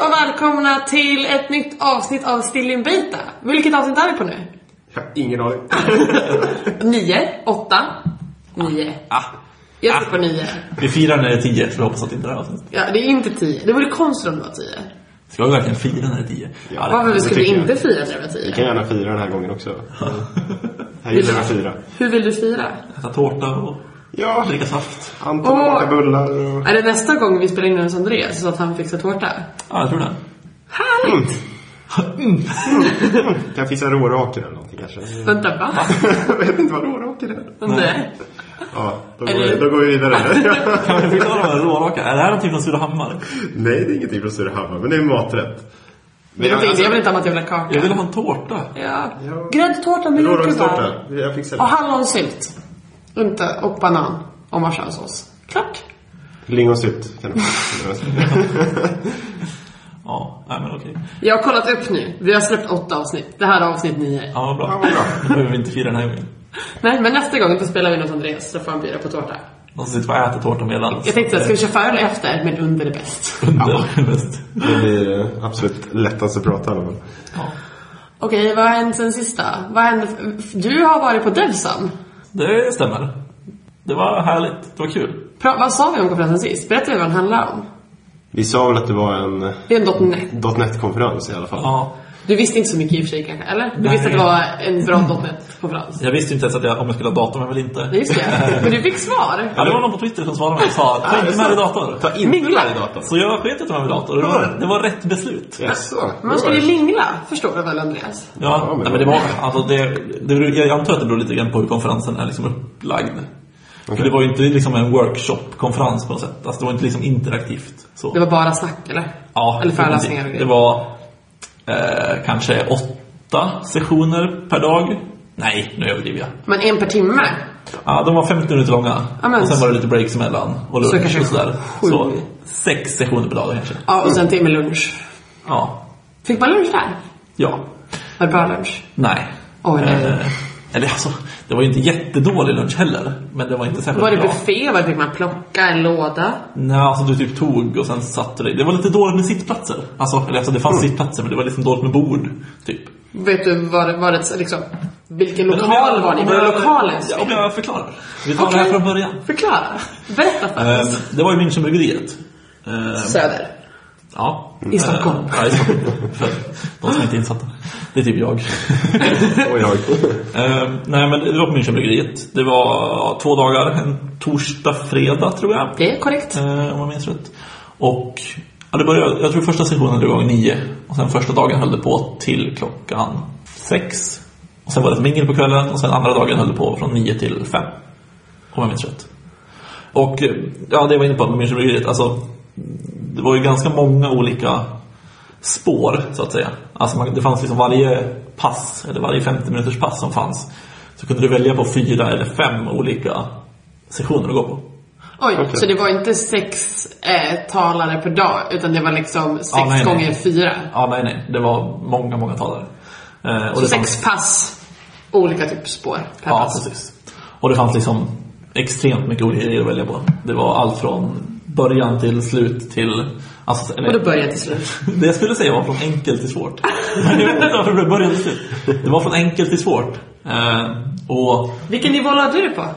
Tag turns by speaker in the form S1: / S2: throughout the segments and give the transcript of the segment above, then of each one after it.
S1: och välkomna till ett nytt avsnitt av Stillinbita. Vilket avsnitt är vi på nu?
S2: Jag har ingen aning.
S1: Nio? Åtta? Nio.
S3: Ah,
S1: Jag sitter på nio.
S3: vi firar när det är tio, så vi hoppas att det inte är avsnitt.
S1: Ja, det är inte tio. Det vore konstigt om det var tio.
S3: Ska vi verkligen fira när det är tio? Ja, det-
S1: Varför
S2: det
S1: skulle vi
S2: tycker
S1: inte fira när det var tio?
S2: Vi kan gärna fira den här gången också. Här gillar jag att fira.
S1: Hur vill du fira?
S3: Äta tårta och
S2: Ja,
S3: dricka saft.
S2: Anton
S1: Åh.
S2: bakar bullar och...
S1: Är det nästa gång vi spelar in hos Andreas så att han fixar tårta?
S3: Ja, jag tror det.
S1: Härligt!
S2: Kan fixa råraker eller någonting kanske.
S1: Vänta, va?
S2: jag vet inte vad råraker är.
S1: Nej.
S2: Ja, då
S1: Är
S2: går, vi,
S1: det-
S2: då går vi vidare.
S3: Kan vi fylla de här råraka? Är det här någonting från Surahammar?
S2: Nej, det är ingenting från Surahammar, men det är en maträtt. Alltså, Men
S1: Jag tänkte, jag vill inte ha att jag vill ha
S3: Jag
S1: kaka.
S3: vill ha en tårta.
S1: Ja.
S2: Ja.
S1: Gräddtårta med jordgubbar.
S2: Rårakstårta. Jag fixar
S1: Och
S2: det.
S1: hallonsylt. Inte, och banan. Och marschansås. Klart.
S2: Lingonsylt kan du
S3: Ja, nej men okej.
S1: Jag har kollat upp nu. Vi har släppt åtta avsnitt. Det här är avsnitt nio.
S3: Ja, vad bra.
S2: Ja, vad bra.
S3: Då behöver vi inte fira den här gången.
S1: Nej, men nästa gång då spelar vi något Andreas så får han bjuda på tårta.
S3: Någon som sitter och äter tårta medan.
S1: Jag tänkte att ska vi köra före eller efter? Men under är bäst.
S3: Under, bäst.
S2: Det blir eh, absolut lättast att prata om.
S3: Ja.
S1: Okej, vad har hänt sen sista? Vad hände? Du har varit på Devsam.
S3: Det stämmer. Det var härligt. Det var kul.
S1: Pra- vad sa vi om konferensen sist? Berätta vad den handlade om.
S2: Vi sa väl att det var en eh,
S1: Det är en .net.
S2: .NET-konferens i alla fall.
S3: Ja.
S1: Du visste inte så mycket i och för sig kanske, eller? Du
S3: Nej.
S1: visste att det var en bra .net-konferens.
S3: Jag visste ju inte ens att jag, om jag skulle ha datorn eller inte.
S1: Nej, Just det. Men du fick svar.
S3: Ja, det var någon på Twitter som svarade mig och sa ta inte med dig dator.
S2: Ta inte med dig datorn.
S3: Så jag sket i att ta med mig dator. Det var, det var rätt beslut.
S2: Jaså?
S1: Man skulle ju lingla, förstår du väl Andreas?
S3: Ja,
S2: Ja, men-
S3: nej, men det var, alltså det, det, beror- jag antar att det beror lite grann på hur konferensen är liksom upplagd. För
S2: Okej.
S3: det var ju inte liksom en workshop-konferens på något sätt. Alltså det var inte liksom interaktivt. Så.
S1: Det var bara snack, eller?
S3: ja,
S1: Eller föreläsningar och
S3: det,
S1: grejer.
S3: det var eh, kanske åtta sessioner per dag. Nej, nu överdriver jag.
S1: Men en per timme?
S3: Ja, de var 50 minuter långa.
S1: Ja, men-
S3: och sen var det lite breaks emellan. Och lunch
S1: Så kanske
S3: och sådär.
S1: sju.
S3: Så sex sessioner per dag kanske.
S1: Ja, och sen timme lunch.
S3: Ja.
S1: Fick man lunch där?
S3: Ja.
S1: Var det bra lunch?
S3: Nej.
S1: Oj, nej.
S3: Eh, eller alltså, det var ju inte jättedålig lunch heller. Men det var inte särskilt
S1: Var det
S3: bra.
S1: buffé? Var det fick man plocka en låda?
S3: Nej, alltså du typ tog och sen satte du dig. Det var lite dåligt med sittplatser. Alltså, eller alltså det fanns
S1: Mm.
S3: sittplatser men det var liksom dåligt med bord. Typ.
S1: Vet du var det, var det liksom... Vilken
S3: Men om jag-
S1: lokal var ni?
S3: om
S1: Var det
S3: jag-
S1: lokalens
S3: Ja,
S1: fel?
S3: om jag förklarar. Vi tar det
S1: Okej.
S3: här från början.
S1: Förklara. Berätta för
S3: Ehm,
S1: oss.
S3: det var ju Münchenbryggeriet. Ehm,
S1: Söder.
S3: ja.
S1: I Stockholm.
S3: Ehm, ja, i Stockholm. För de som inte är insatta. Det är typ jag.
S2: Oj, oj.
S3: Ehm, nej, men det var på Münchenbryggeriet. Det var två dagar. En torsdag, fredag tror jag.
S1: Det är korrekt.
S3: eh, om jag minns rätt. Och ja, det började, jag tror första sessionen drog igång nio och sen första dagen höll det på till klockan sex. Och sen var det ett mingel på kvällen och sen andra dagen höll det på från nio till fem. Om jag minns rätt. Och eh, ja, det jag var inne på med Münchenbryggeriet, alltså det var ju ganska många olika spår så att säga. Alltså man, det fanns liksom varje pass, eller varje 50 minuters pass som fanns. Så kunde du välja på fyra eller fem olika sessioner att gå på.
S1: Oj,
S2: Okej.
S1: så det var inte sex eh, talare per dag, utan det var liksom sex
S3: Ja, nej, nej.
S1: gånger fyra.
S3: Ja, nej, nej. Det var många, många talare. Eh, och
S1: Så
S3: det
S1: sex
S3: fanns-
S1: pass, olika typ spår per
S3: Ja,
S1: pass.
S3: precis. Och det fanns liksom extremt mycket olika grejer att välja på. Det var allt från början till slut till... Alltså, eller,
S1: Och då började till slut.
S3: det jag skulle säga var från enkelt till svårt. Men jag vet inte varför det blev början till slut. Det var från enkelt till svårt. Eh, och
S1: Vilken nivå lade du på?
S3: eh,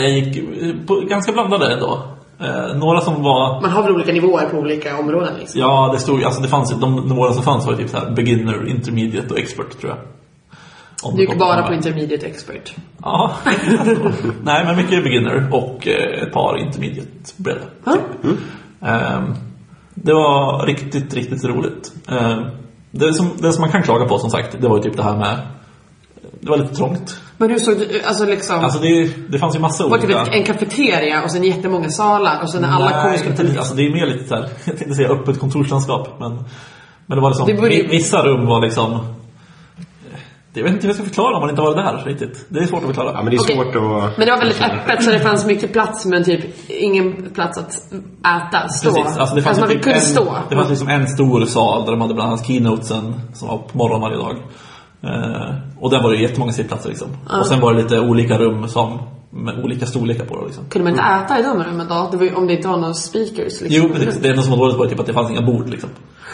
S3: jag gick eh, på ganska blandade ändå. Eh, några som var
S1: Man har väl olika nivåer på olika områden liksom?
S3: Ja, det stod alltså det fanns ju, de nivåerna som fanns var ju typ så här beginner, intermediate och expert tror jag. Om
S1: Du
S3: kom
S1: gick bara på
S3: fram.
S1: intermediate expert.
S3: Ja, alltså. nej men mycket beginner och eh, ett par intermediate bredde.
S1: Ja.
S3: Ehm, det var riktigt, riktigt roligt. Ehm, det, som, det som man kan klaga på som sagt, det var ju typ det här med det var lite trångt.
S1: Men hur såg du, alltså liksom,
S3: Alltså det, det fanns ju massa
S1: var
S3: olika...
S1: typ ett- en kafeteria och sen jättemånga salar och sen när alla kom
S3: Nej,
S1: skulle ta
S3: inte lite.
S1: lite.
S3: Alltså det är mer lite så här, jag tänkte säga öppet kontorslandskap. Men, men det var liksom,
S1: Det borde ju-
S3: vissa rum var liksom... Det jag vet inte hur jag ska förklara om man inte har varit där riktigt. Det är svårt att förklara.
S2: Ja, men det är
S1: Okej.
S2: svårt att...
S1: Men det var väldigt öppet så det fanns mycket plats men typ ingen plats att äta, stå.
S3: Precis, alltså det fanns
S1: man
S3: ju
S1: kunde
S3: en,
S1: stå.
S3: Det fanns liksom en stor sal där de hade bland annat keynotesen som var på morgonen varje dag. Eh, och där var det ju jättemånga sittplatser liksom. Och sen var det lite olika rum som med olika storlekar på det liksom.
S1: Kunde man inte äta i de rummen då? Det var ju, om det inte var några speakers liksom.
S3: Jo, precis. Det enda som var dåligt var typ att det fanns inga bord. Liksom.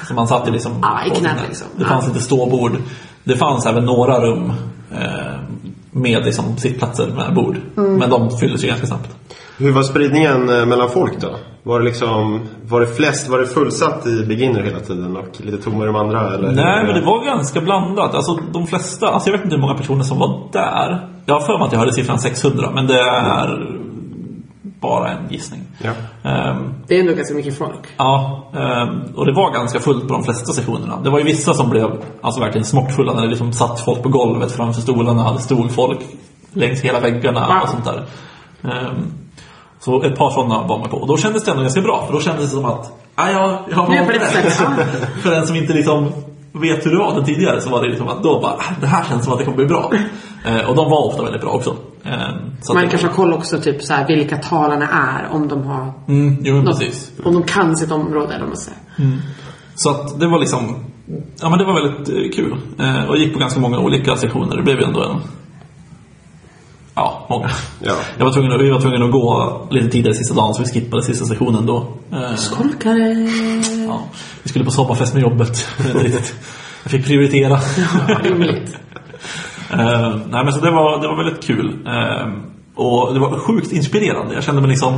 S3: Så man satt ju liksom...
S1: Ah, i
S3: på
S1: knät,
S3: sina-
S1: liksom.
S3: Det
S1: Ah.
S3: fanns inte ståbord. Det fanns även några rum eh, med liksom, sittplatser med bord.
S1: Mm.
S3: Men de fylldes ju ganska snabbt.
S2: Hur var spridningen eh, mellan folk då? Var det liksom, var det flest, var det fullsatt i beginner hela tiden och lite tomma i de andra? Eller?
S3: Nej, men det var ganska blandat. Alltså de flesta, alltså jag vet inte hur många personer som var där. Jag har för mig att jag hörde siffran 600, men det är bara en gissning.
S2: Ja.
S3: Ehm,
S1: Det är ändå ganska mycket folk.
S3: Ja, ehm, och det var ganska fullt på de flesta sektionerna. Det var ju vissa som blev alltså verkligen smockfulla när det liksom satt folk på golvet framför stolarna. Det stod folk längs hela väggarna och sånt där. Ehm, Så ett par sådana var man på. Och då kändes det ändå ganska bra. För då kändes det som att, "Ah, ja, jag, jag har
S1: Nu är jag på
S3: varit
S1: rätt
S3: där."
S1: sätt.
S3: För den som inte liksom vet hur det var den tidigare så var det liksom att då bara, "Ah, det här känns som att det kommer bli bra. Ehm, Och de var ofta väldigt bra också. Ehm, Så
S1: Man
S3: att-
S1: kanske har koll också typ så här, vilka talarna är om de har
S3: Mm, jo, men
S1: något,
S3: precis.
S1: om de kan sitt område eller vad man säger.
S3: Så att det var liksom Ja men det var väldigt eh, kul eh, och jag gick på ganska många olika sektioner. Det blev ju ändå en Ja, många.
S2: Ja.
S3: Jag var tvungen att, vi var tvungna att gå lite tidigare sista dagen så vi skippade sista sektionen då. Eh,
S1: Skolkare!
S3: ja. Vi skulle på sommarfest med jobbet. Det är riktigt. jag fick prioritera.
S1: Rimligt.
S3: Eh, nej men så det var, det var väldigt kul. Eh, och det var sjukt inspirerande. Jag kände mig liksom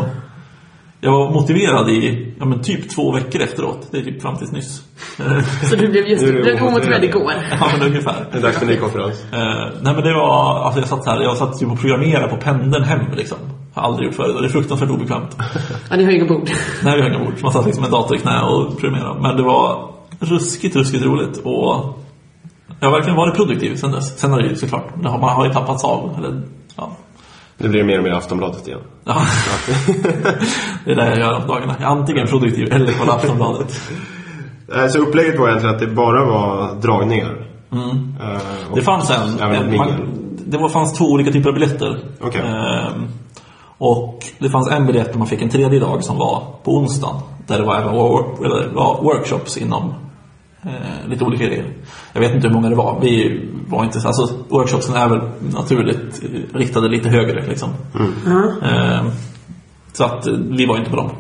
S3: Jag var motiverad i ja, men typ två veckor efteråt. Det är typ fram tills nyss. Eh,
S1: Så du blev just
S2: Nu är det
S1: du blev omotiverad
S2: omotiverad.
S1: igår.
S3: ja men ungefär.
S2: Det är dags för en ny konferens.
S3: Eh, nej men det var, alltså jag satt så här, jag satt typ och programmerade på pendeln hem liksom. Har aldrig gjort förut och det är fruktansvärt obekvämt.
S1: Ja, ni har inga bord.
S3: Nej vi har inga bord, så man satt liksom med dator i knä och programmerade. Men det var ruskigt, ruskigt roligt och jag har verkligen varit produktiv sen dess. Sen har det ju såklart, det har, man har ju tappats av. Eller, ja.
S2: Nu blir det mer och mer Aftonbladet igen.
S3: Ja. det är det jag gör om dagarna. Jag är antingen produktiv eller kollar Aftonbladet.
S2: Eh, Så upplägget var egentligen att det bara var dragningar.
S3: Mm.
S2: Eh, och-
S3: Det fanns en.
S2: Även
S3: en
S2: mingel.
S3: man, det var, fanns två olika typer av biljetter.
S2: Okej.
S3: Ehm, och det fanns en biljett där man fick en tredje dag som var på onsdagen. Där det var, även wor- eller, det var workshops inom eh, lite olika grejer. Jag vet inte hur många det var. Vi var inte så, alltså, workshopsen är väl naturligt eh, riktade lite högre. Liksom.
S2: Mm.
S3: Ehm, så att eh, vi var inte på dem,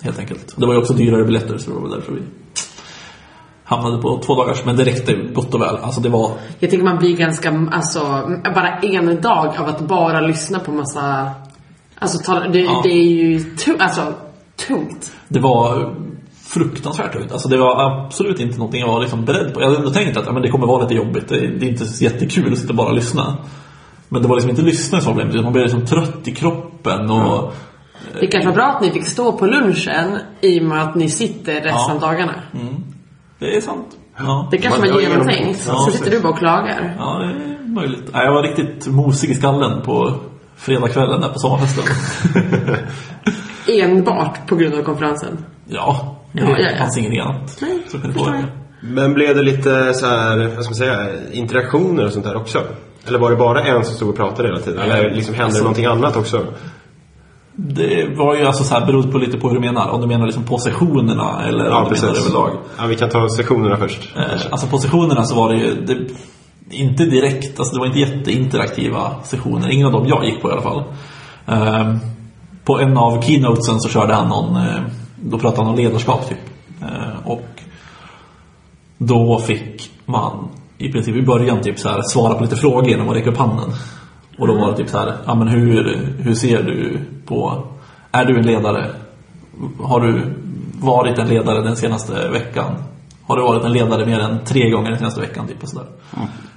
S3: helt enkelt. Det var ju också dyrare biljetter, så det var väl därför vi hamnade på två dagars. Men det räckte gott och väl. Alltså det var
S1: Jag tänker man blir ganska, alltså, bara en dag av att bara lyssna på massa, alltså tal- det,
S3: Ja.
S1: det är ju tu- alltså, tungt.
S3: Det var fruktansvärt tungt. Alltså det var absolut inte någonting jag var liksom beredd på. Jag hade ändå tänkt att ja, men det kommer vara lite jobbigt. Det är, det är inte så jättekul att sitta och bara lyssna. Men det var liksom inte lyssna som var problemet. utan Man blev liksom trött i kroppen. Och,
S1: Det kanske var bra att ni fick stå på lunchen i och med att ni sitter resten av dagarna.
S3: Mm. Det är sant. Ja.
S1: Det kanske
S2: Man-
S1: var
S2: ja, genom-
S1: genomtänkt.
S3: ja,
S1: så sitter du bara och klagar.
S3: ja, det är möjligt. Nej, jag var riktigt mosig i skallen på fredagskvällen där på sommarfesten.
S1: Enbart på grund av konferensen.
S3: ja, det
S1: Ja, ja, ja.
S3: fanns ingenting annat.
S1: Nej,
S3: som kunde
S1: förstår
S3: påverka.
S2: Men blev det lite så här, vad ska man säga, interaktioner och sånt där också? Eller var det bara en som stod och pratade hela tiden? Eller liksom hände det
S3: Alltså-
S2: någonting annat också?
S3: Det var ju alltså så här, berott på lite på hur du menar. Om du menar liksom på sessionerna eller om du menar överlag.
S2: Ja, vi kan ta sektionerna först.
S3: Eh, Alltså positionerna så var det ju det, inte direkt, alltså det var inte jätteinteraktiva sessioner. Ingen av dem jag gick på i alla fall. Eh, På en av keynotesen så körde han någon, eh, då pratade han om ledarskap typ. Eh, Och då fick man i princip i början typ så här, svara på lite frågor genom att räcka upp handen. Och då var det typ så här, ja men hur, hur ser du på, är du en ledare? Har du varit en ledare den senaste veckan? Har du varit en ledare mer än tre gånger den senaste veckan? Typ och så där.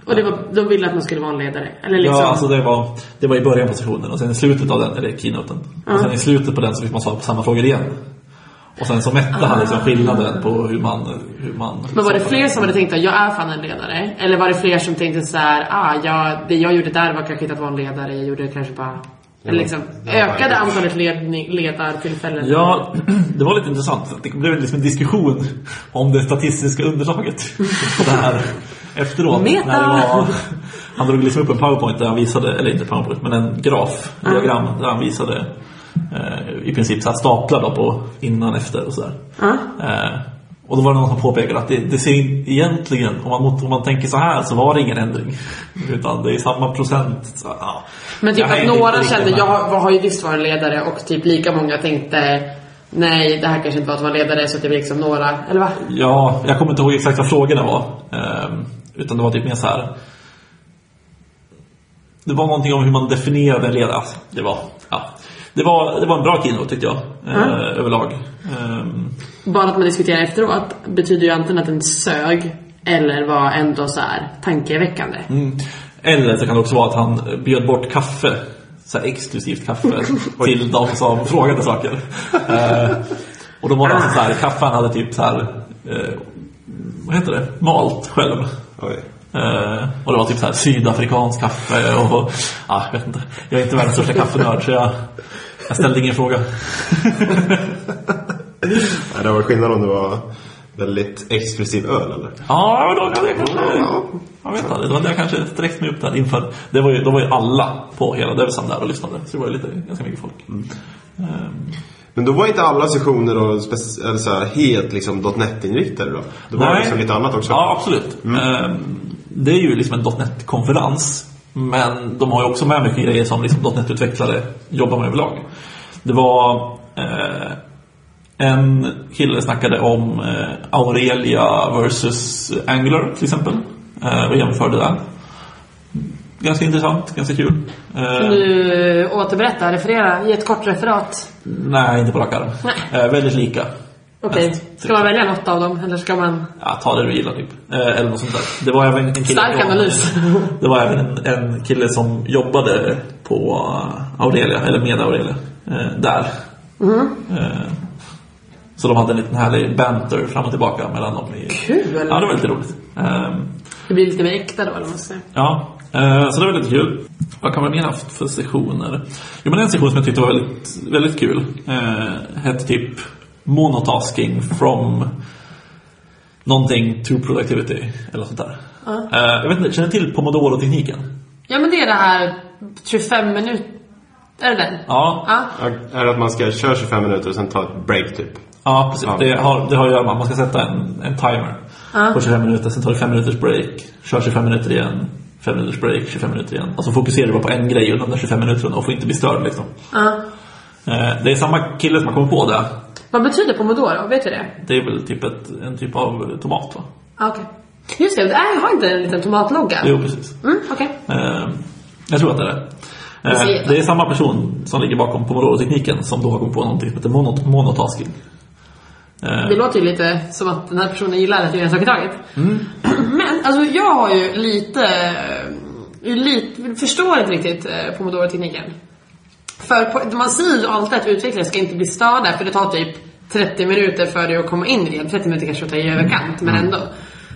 S1: Och det var, de ville att man skulle vara en ledare. Eller liksom.
S3: Ja, alltså det var, det var i början på sessionen och sen i slutet av den, eller keynoten. Och sen i slutet på den så fick man svara på samma frågor igen. Och sen så mätte han liksom skillnaden på hur man... Hur man
S1: Men var det fler som hade tänkt att jag är fan en ledare? Eller var det fler som tänkte så här, ah, jag, det jag gjorde där var kanske inte att vara en ledare, jag gjorde kanske bara... Eller liksom,
S2: Ja,
S1: ökade
S2: ja.
S1: antalet ledning, ledartillfällen?
S3: Ja, det var lite intressant. Det blev liksom en diskussion om det statistiska underlaget. Det här efteråt.
S1: Meta!
S3: När det var, han drog liksom upp en powerpoint där han visade, eller inte powerpoint, men en graf, en diagram där han visade eh, i princip så här staplar då på innan, efter och sådär.
S1: Ja.
S3: Eh, Och då var det någon som påpekade att det, det ser in- egentligen, om man, mot- om man tänker så här så var det ingen ändring. Utan det är samma procent. Så, ja.
S1: Men typ
S3: Jag hängde
S1: att
S3: inte
S1: några
S3: riktigt
S1: kände,
S3: med.
S1: jag har har ju visst varit ledare och typ lika många tänkte Nej, det här kanske inte var att vara ledare så att det blir liksom några, eller va?
S3: Ja, jag kommer inte ihåg exakt vad frågorna var. Ehm, utan det var typ mer så här. Det var någonting om hur man definierade en ledare. Alltså, det, var, ja. det, var, det var en bra keynote tyckte jag. eh,
S1: Mm.
S3: Överlag. Ehm,
S1: Bara att man diskuterar efteråt betyder ju antingen att den sög eller var ändå så här tankeväckande.
S3: mm. Eller så kan det också vara att han bjöd bort kaffe. Så här exklusivt kaffe till de som frågade saker. Ehm, och då var det alltså så här, kaffe han hade typ så här, eh, vad heter det, malt själv.
S2: Oj.
S3: Eh, och det var typ så här sydafrikansk kaffe och... Ja, jag vet inte. Jag är inte världens största kaffenörd så jag, jag ställde ingen fråga.
S2: Nej, det var skillnad om det var väldigt exklusiv öl eller?
S3: Ja, men då kan jag kanske... Jag vet inte, det var det jag kanske sträckte mig upp där inför. Det var ju, då var ju alla på hela Devsam där och lyssnade. Så det var ju lite, ganska mycket folk. Ehm,
S2: Men då var inte alla sessioner då spec- eller så här, helt liksom .NET-inriktade då? Det var
S3: Nej.
S2: liksom lite annat också? Mm.
S3: Ja, absolut. Ehm, Det är ju liksom en .NET-konferens. Men de har ju också med mycket grejer som liksom .NET-utvecklare jobbar med överlag. Det var eh, en kille snackade om eh, Aurelia versus Angular till exempel. Eh, och jämförde det. Ganska intressant, ganska kul. Eh,
S1: Kan du återberätta, referera, ge ett kort referat?
S3: nej, inte på rak arm.
S1: Nej.
S3: Eh, väldigt lika.
S1: Okej,
S3: Mest.
S1: ska man välja något av dem eller ska man...
S3: Ja, ta det du gillar typ. Eh, eller något sånt där. Det var även en kille
S1: Stark analys.
S3: Det var även en, en kille som jobbade på eh, Aurelia, eller med Aurelia, eh, där.
S1: Mm-hmm.
S3: Eh, så de hade en liten härlig banter fram och tillbaka mellan dem. I,
S1: Kul!
S3: Ja, det var lite roligt. Eh,
S1: Det blir lite mer äkta då, eller vad man ska säga.
S3: Ja, eh, så det var väldigt kul. Vad kan man mer haft för sessioner? Jo, men en session som jag tyckte var väldigt, väldigt kul eh, hette typ Monotasking from någonting to productivity eller något sånt där. Eh, jag vet inte, känner ni till Pomodoro-tekniken?
S1: Ja men det är det här 25 minuter... Är det den?
S3: Ja,
S1: Ja.
S2: Ja, Är det att man ska köra 25 minuter och sen ta ett break typ?
S3: ja precis.
S2: Ja.
S3: Det har, det har att göra med att man ska sätta en, en timer
S1: Ja.
S3: på 25 minuter, sen tar du 5 minuters break, kör 25 minuter igen, 5 minuters break, 25 minuter igen. Alltså fokuserar du bara på en grej under de där 25 minuterna och får inte bli störd liksom.
S1: ja.
S3: Eh, Det är samma kille som har kommit på det.
S1: Vad betyder pomodoro? Vet du det?
S3: Det är väl typ ett, en typ av tomat va?
S1: Ah, Okej. Just det, nej, jag har inte en liten tomatlogga.
S3: Jo, precis.
S1: Mm, okej.
S3: Eh, Jag tror att det är det. Eh,
S1: ser.
S3: Det är samma person som ligger bakom Pomodoro-tekniken som då har kommit på någonting som heter monot- monotasking.
S1: Det låter ju lite som att den här personen gillar att göra en sak i taget. Men alltså jag har ju lite, eh, lite förstår inte riktigt eh, pomodoro-tekniken. För på, man säger ju alltid att utvecklare ska inte bli störda för det tar typ 30 minuter för dig att komma in i det. 30 minuter kanske tar i överkant, men ändå.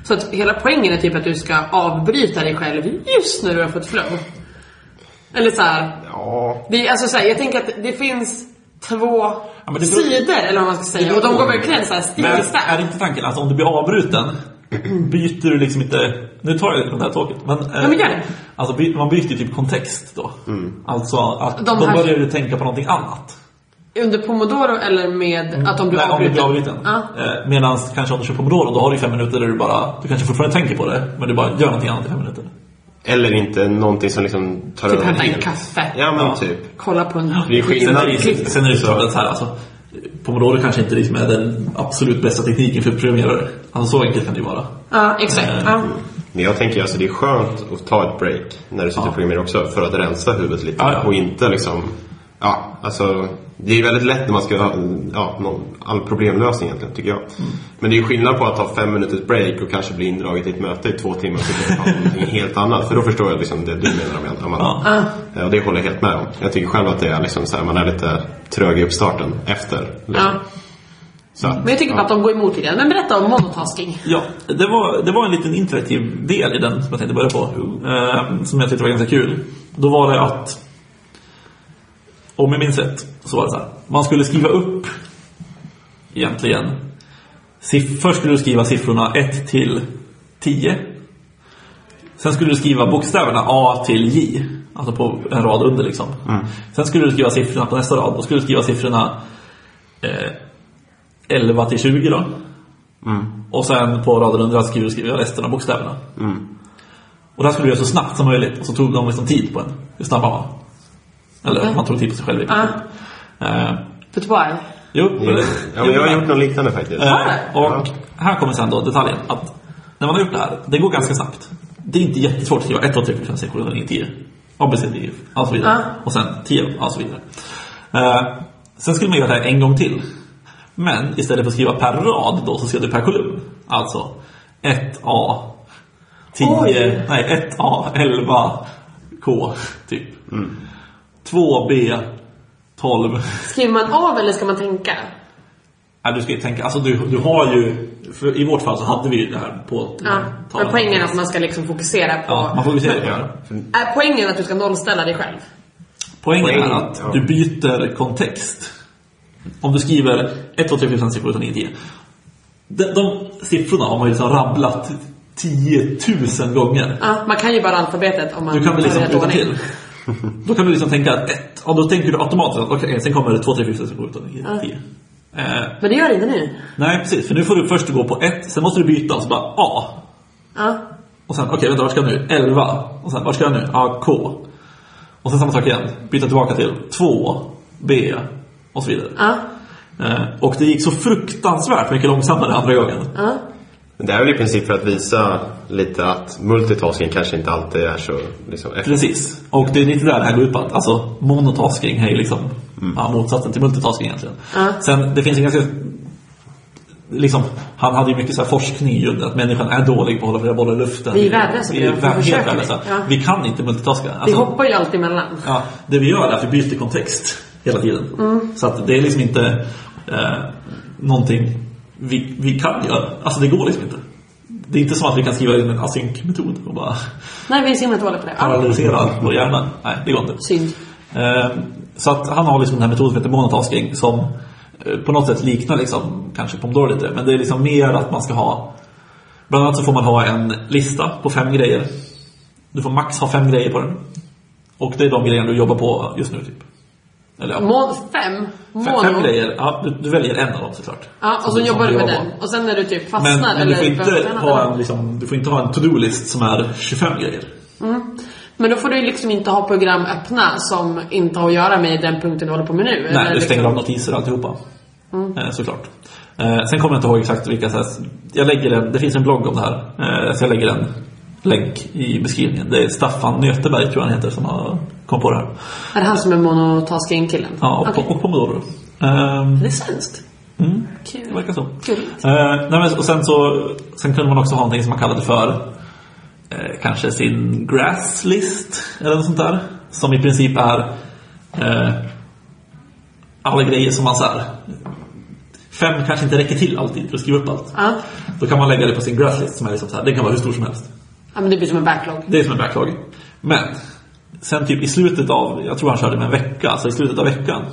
S1: Så att hela poängen är typ att du ska avbryta dig själv just när du har fått flow. Eller så här,
S2: Ja.
S1: det är, alltså, så här, jag tänker att det finns två
S3: men det beror-
S1: sidor, eller vad man ska säga.
S3: beror
S1: Och de
S3: på-
S1: går verkligen så här stick
S3: Men
S1: i stäv.
S3: är det inte tanken, alltså om du blir avbruten, byter du liksom inte... Nu tar jag lite från det här tåget. Men, eh,
S1: Ja, men gör det.
S3: Alltså by, man byter ju typ kontext då. Alltså att
S1: De
S3: då
S1: här-
S3: börjar du tänka på någonting annat.
S1: Under pomodoro eller med att de blir
S3: Mm. Nej, om du blir
S1: avbruten?
S3: avbruten.
S1: Ja.
S3: Eh, Medan kanske om du kör Pomodoro, då har du fem minuter där du bara, du kanske fortfarande tänker på det, men du bara gör någonting annat i fem minuter.
S2: Eller inte någonting som liksom tar
S1: Typ
S2: över
S1: hämta en
S2: helt.
S1: kaffe.
S2: Ja men
S3: Ja.
S2: typ.
S1: Kolla på en...
S2: Det är
S3: Sen är
S2: skillnad.
S3: det, ju- sen är det ju så att så här, alltså, Pomodoro kanske inte liksom är den absolut bästa tekniken för programmerare. Alltså så enkelt kan det ju vara.
S1: Ja, exakt. Ja.
S2: Men jag tänker alltså det är skönt att ta ett break när du sitter och programmerar också för att rensa huvudet lite
S3: Ja, ja.
S2: och inte liksom Ja, alltså det är väldigt lätt när man ska ha ja, någon, all problemlösning egentligen tycker jag.
S3: Mm.
S2: Men det är ju skillnad på att ta fem minuters break och kanske bli indraget i ett möte i två timmar och sitta och ta någonting helt annat. För då förstår jag liksom det du menar om Amanda.
S3: Ja.
S2: Ja, det håller jag helt med om. Jag tycker själv att det är liksom så här, man är lite trög i uppstarten efter. Liksom.
S1: Ja.
S2: Så att,
S1: Men jag tycker bara att de går emot lite grann. Men berätta om monotasking.
S3: Mm. Ja, det var, det var en liten interaktiv del i den som jag tänkte börja på. Eh, som jag tyckte var ganska kul. Då var det att, om jag minns rätt, så var det så här. Man skulle skriva upp, egentligen. Siff- först skulle du skriva siffrorna 1 till 10. Sen skulle du skriva bokstäverna A till J. Alltså på en rad under liksom.
S2: Mm.
S3: Sen skulle du skriva siffrorna på nästa rad. Då skulle du skriva siffrorna eh, 11 till 20 då.
S2: Mm.
S3: Och sen på raden under skriver skriver jag resten av bokstäverna.
S2: Mm.
S3: Och det här skulle du göra så snabbt som möjligt. Och så tog de liksom tid på en. Hur snabb man var. Eller
S1: Mm.
S3: man tog tid på sig själv. i och för sig. Eh,
S1: Vet du vad?
S3: jo,
S2: Ja, men jag har gjort något liknande faktiskt.
S3: Eh,
S2: Ja.
S3: Och här kommer sen då detaljen. Att när man har gjort det här, det går ganska snabbt. Det är inte jättesvårt att skriva 1, 2, 3, 4, 5, 6, 7, 8, 9, 10. ABCD, och så vidare.
S1: Ja.
S3: Och sen 10, och så vidare. Eh, sen skulle man göra det här en gång till. Men istället för att skriva per rad då, så skrev du per kolumn. Alltså 1A, 10,
S1: Oj.
S3: nej 1A, 11, K, typ. 2B, 12,
S1: Skriver man av eller ska man tänka?
S3: Ja, du ska ju tänka, alltså du, du har ju, för i vårt fall så hade vi ju det här på
S1: Ja. Men poängen är att man ska liksom fokusera på...
S3: Mm. Ja, man får ju se det.
S2: Ja. För-
S1: Är poängen att du ska nollställa dig själv?
S3: Poängen
S2: Poängen,
S3: är att
S2: ja.
S3: du byter kontext. Om du skriver 1, 2, 3, 4, 5, 6, 7, 8, 9, 10. De, de siffrorna har man ju liksom rabblat 10 000 gånger.
S1: Ja, man kan ju bara alfabetet om man
S3: Du kan väl
S1: tar
S3: liksom
S1: rätt
S3: utan
S1: ordning.
S3: till. Då kan du liksom tänka att ett, och då tänker du automatiskt att okej, sen kommer det 2, 3, 4, 5, 6, 7, 8, 9, 10. Eh,
S1: Men det gör inte nu.
S3: nej, precis. För nu får du först gå på 1, sen måste du byta och så bara A.
S1: Ja.
S3: Och sen, okej vänta, vart ska jag nu? 11. Och sen, vart ska jag nu? Ja, K. Och sen samma sak igen. Byta tillbaka till 2, B och så vidare.
S1: Ja.
S3: Eh, och det gick så fruktansvärt mycket långsammare andra gången.
S1: Ja.
S2: Men Det är väl i princip för att visa lite att multitasking kanske inte alltid är så liksom, effektivt.
S3: Precis. Och det är lite där det här går ut på. Att, alltså, monotasking är ju liksom ja, motsatsen till multitasking egentligen.
S1: Ja.
S3: Sen, det finns en ganska... Liksom, han hade ju mycket så här forskning i grunden, att människan är dålig på att hålla flera bollar i luften.
S1: Vi är värdelösa på
S3: Vi är
S1: det. Vi försöker.
S3: helt värdelösa.
S1: Ja.
S3: Vi kan inte multitaska.
S1: Vi
S3: Alltså,
S1: hoppar ju alltid emellan.
S3: Ja, det vi gör är att vi byter kontext hela tiden. Så att det är liksom inte eh, någonting vi, vi kan göra. Alltså det går liksom inte. Det är inte som att vi kan skriva in en asynkmetod och bara
S1: Nej, vi är så himla dåliga på det. Ja.
S3: paralysera allt på hjärnan. Nej, det går inte.
S1: Ah. Synd.
S3: Eh, så att han har liksom den här metoden som heter monotasking som eh, på något sätt liknar liksom, kanske Pomodoro lite. Men det är liksom mer att man ska ha Bland annat så får man ha en lista på fem grejer. Du får max ha fem grejer på den. Och det är de grejerna du jobbar på just nu typ. Eller ja,
S1: Mål fem.
S3: fem, fem
S1: Mono.
S3: grejer. Ja, du, du väljer en av dem såklart.
S1: Ja, och så
S3: Som- som
S1: jobbar du med
S3: jobbar på.
S1: den. Och sen när du typ fastnar
S3: Men, men du,
S1: eller
S3: får
S1: börjar
S3: inte
S1: träna
S3: ha
S1: den.
S3: en, liksom, du får inte ha en to-do-list som är 25 grejer.
S1: Mm. Men då får du ju liksom inte ha program öppna som inte har att göra med den punkten du håller på med nu.
S3: Nej, du
S1: liksom... Mm.
S3: stänger av notiser och alltihopa. Eh, såklart. Eh, sen kommer jag inte ihåg exakt vilka... Så här, jag lägger en, det finns en blogg om det här. Eh, så jag lägger en länk i beskrivningen. Det är Staffan Nöteberg tror jag han heter som har kom på det här.
S1: Är det han som är monotasking-killen?
S3: Ja, och,
S1: Okej.
S3: okay. och Pomodoro. Ehm,
S1: Det är svenskt.
S3: mm, det
S1: Kul.
S3: verkar så.
S1: Kul.
S3: Eh, nej, men, och sen, så, sen kunde man också ha någonting som man kallade för eh, kanske sin grass list eller något sånt där. Som i princip är eh, alla grejer som man så här, Fem kanske inte räcker till alltid för att skriva upp allt.
S1: Ja.
S3: Då kan man lägga det på sin grass list som är liksom så här, den kan vara hur stor som helst.
S1: ja, men det blir som en backlog.
S3: Det är som en backlog. Men sen typ i slutet av, jag tror han körde med en vecka, alltså i slutet av veckan.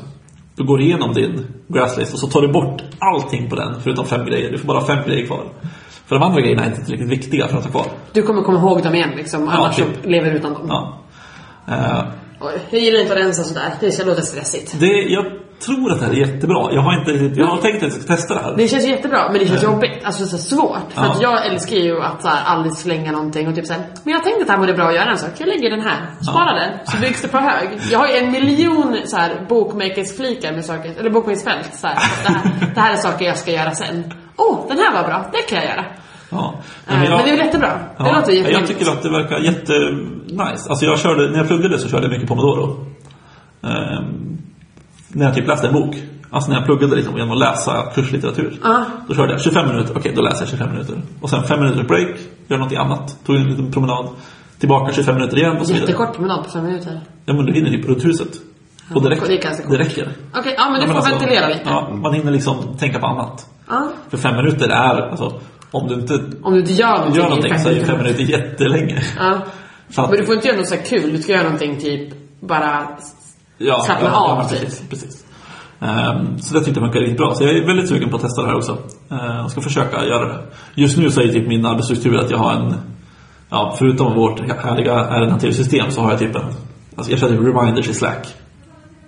S3: Du går igenom din grasslist och så tar du bort allting på den förutom fem grejer. Du får bara fem grejer kvar. För de andra grejerna är inte tillräckligt viktiga för att ha kvar.
S1: Du kommer komma ihåg dem igen liksom, annars
S3: typ.
S1: så lever du utan dem.
S3: Ja. Eh,
S1: Oj, jag gillar inte att rensa sådär. Det känns- låter stressigt.
S3: det, jag tror att det här är jättebra. Jag har, inte, riktigt- jag har tänkt att jag ska testa det här.
S1: Det känns jättebra, men det känns jobbigt. Alltså så svårt. För
S3: Ja.
S1: att jag älskar ju att så här, aldrig slänga någonting och typ såhär, men jag tänkte att det här vore bra att göra en sak. Jag lägger den här. Spara den. Så byggs det på hög. Jag har ju en miljon så här, bokmakersflikar med saker, eller bokmakersfält. Så här, att det, här, det här är saker jag ska göra sen. Åh, oh, den här var bra. Det kan jag göra.
S3: Ja.
S1: Men, men det är väl jättebra. Det
S3: Ja,
S1: låter
S3: jag
S1: jätteroligt.
S3: tycker att det verkar jättenice. Alltså jag körde, när jag pluggade så körde jag mycket Pomodoro. Ehm, när jag typ läste en bok. Alltså när jag pluggade liksom genom att läsa kurslitteratur.
S1: Ja.
S3: Då körde jag 25 minuter, okej då läser jag 25 minuter. Och sen 5 minuter break, gör någonting annat. Tog en liten promenad. Tillbaka 25 minuter igen och så vidare.
S1: Jättekort promenad på fem minuter.
S3: Ja men du hinner typ runt huset. Och det räcker.
S1: det är ganska kort.
S3: Det räcker.
S1: Okej, ja men du får
S3: Ja, men alltså,
S1: ventilera lite.
S3: Ja, man hinner liksom tänka på annat.
S1: Ja.
S3: För 5 minuter är, alltså om du inte
S1: Om du inte gör någonting,
S3: gör någonting
S1: i
S3: så är ju 5
S1: minuter.
S3: minuter jättelänge.
S1: Ja.
S3: Så att-
S1: Men du får inte göra något så här kul. Du ska göra någonting typ bara
S3: Ja,
S1: Slappna
S3: ja,
S1: av,
S3: Ja, precis. precis. Ehm, så det tyckte jag verkade riktigt bra. Så jag är väldigt sugen på att testa det här också. Ehm, och ska försöka göra det. Just nu så är typ min arbetsstruktur att jag har en... Ja, förutom vårt härliga ärendehanteringssystem så har jag typ en... Alltså jag kör typ reminders i Slack.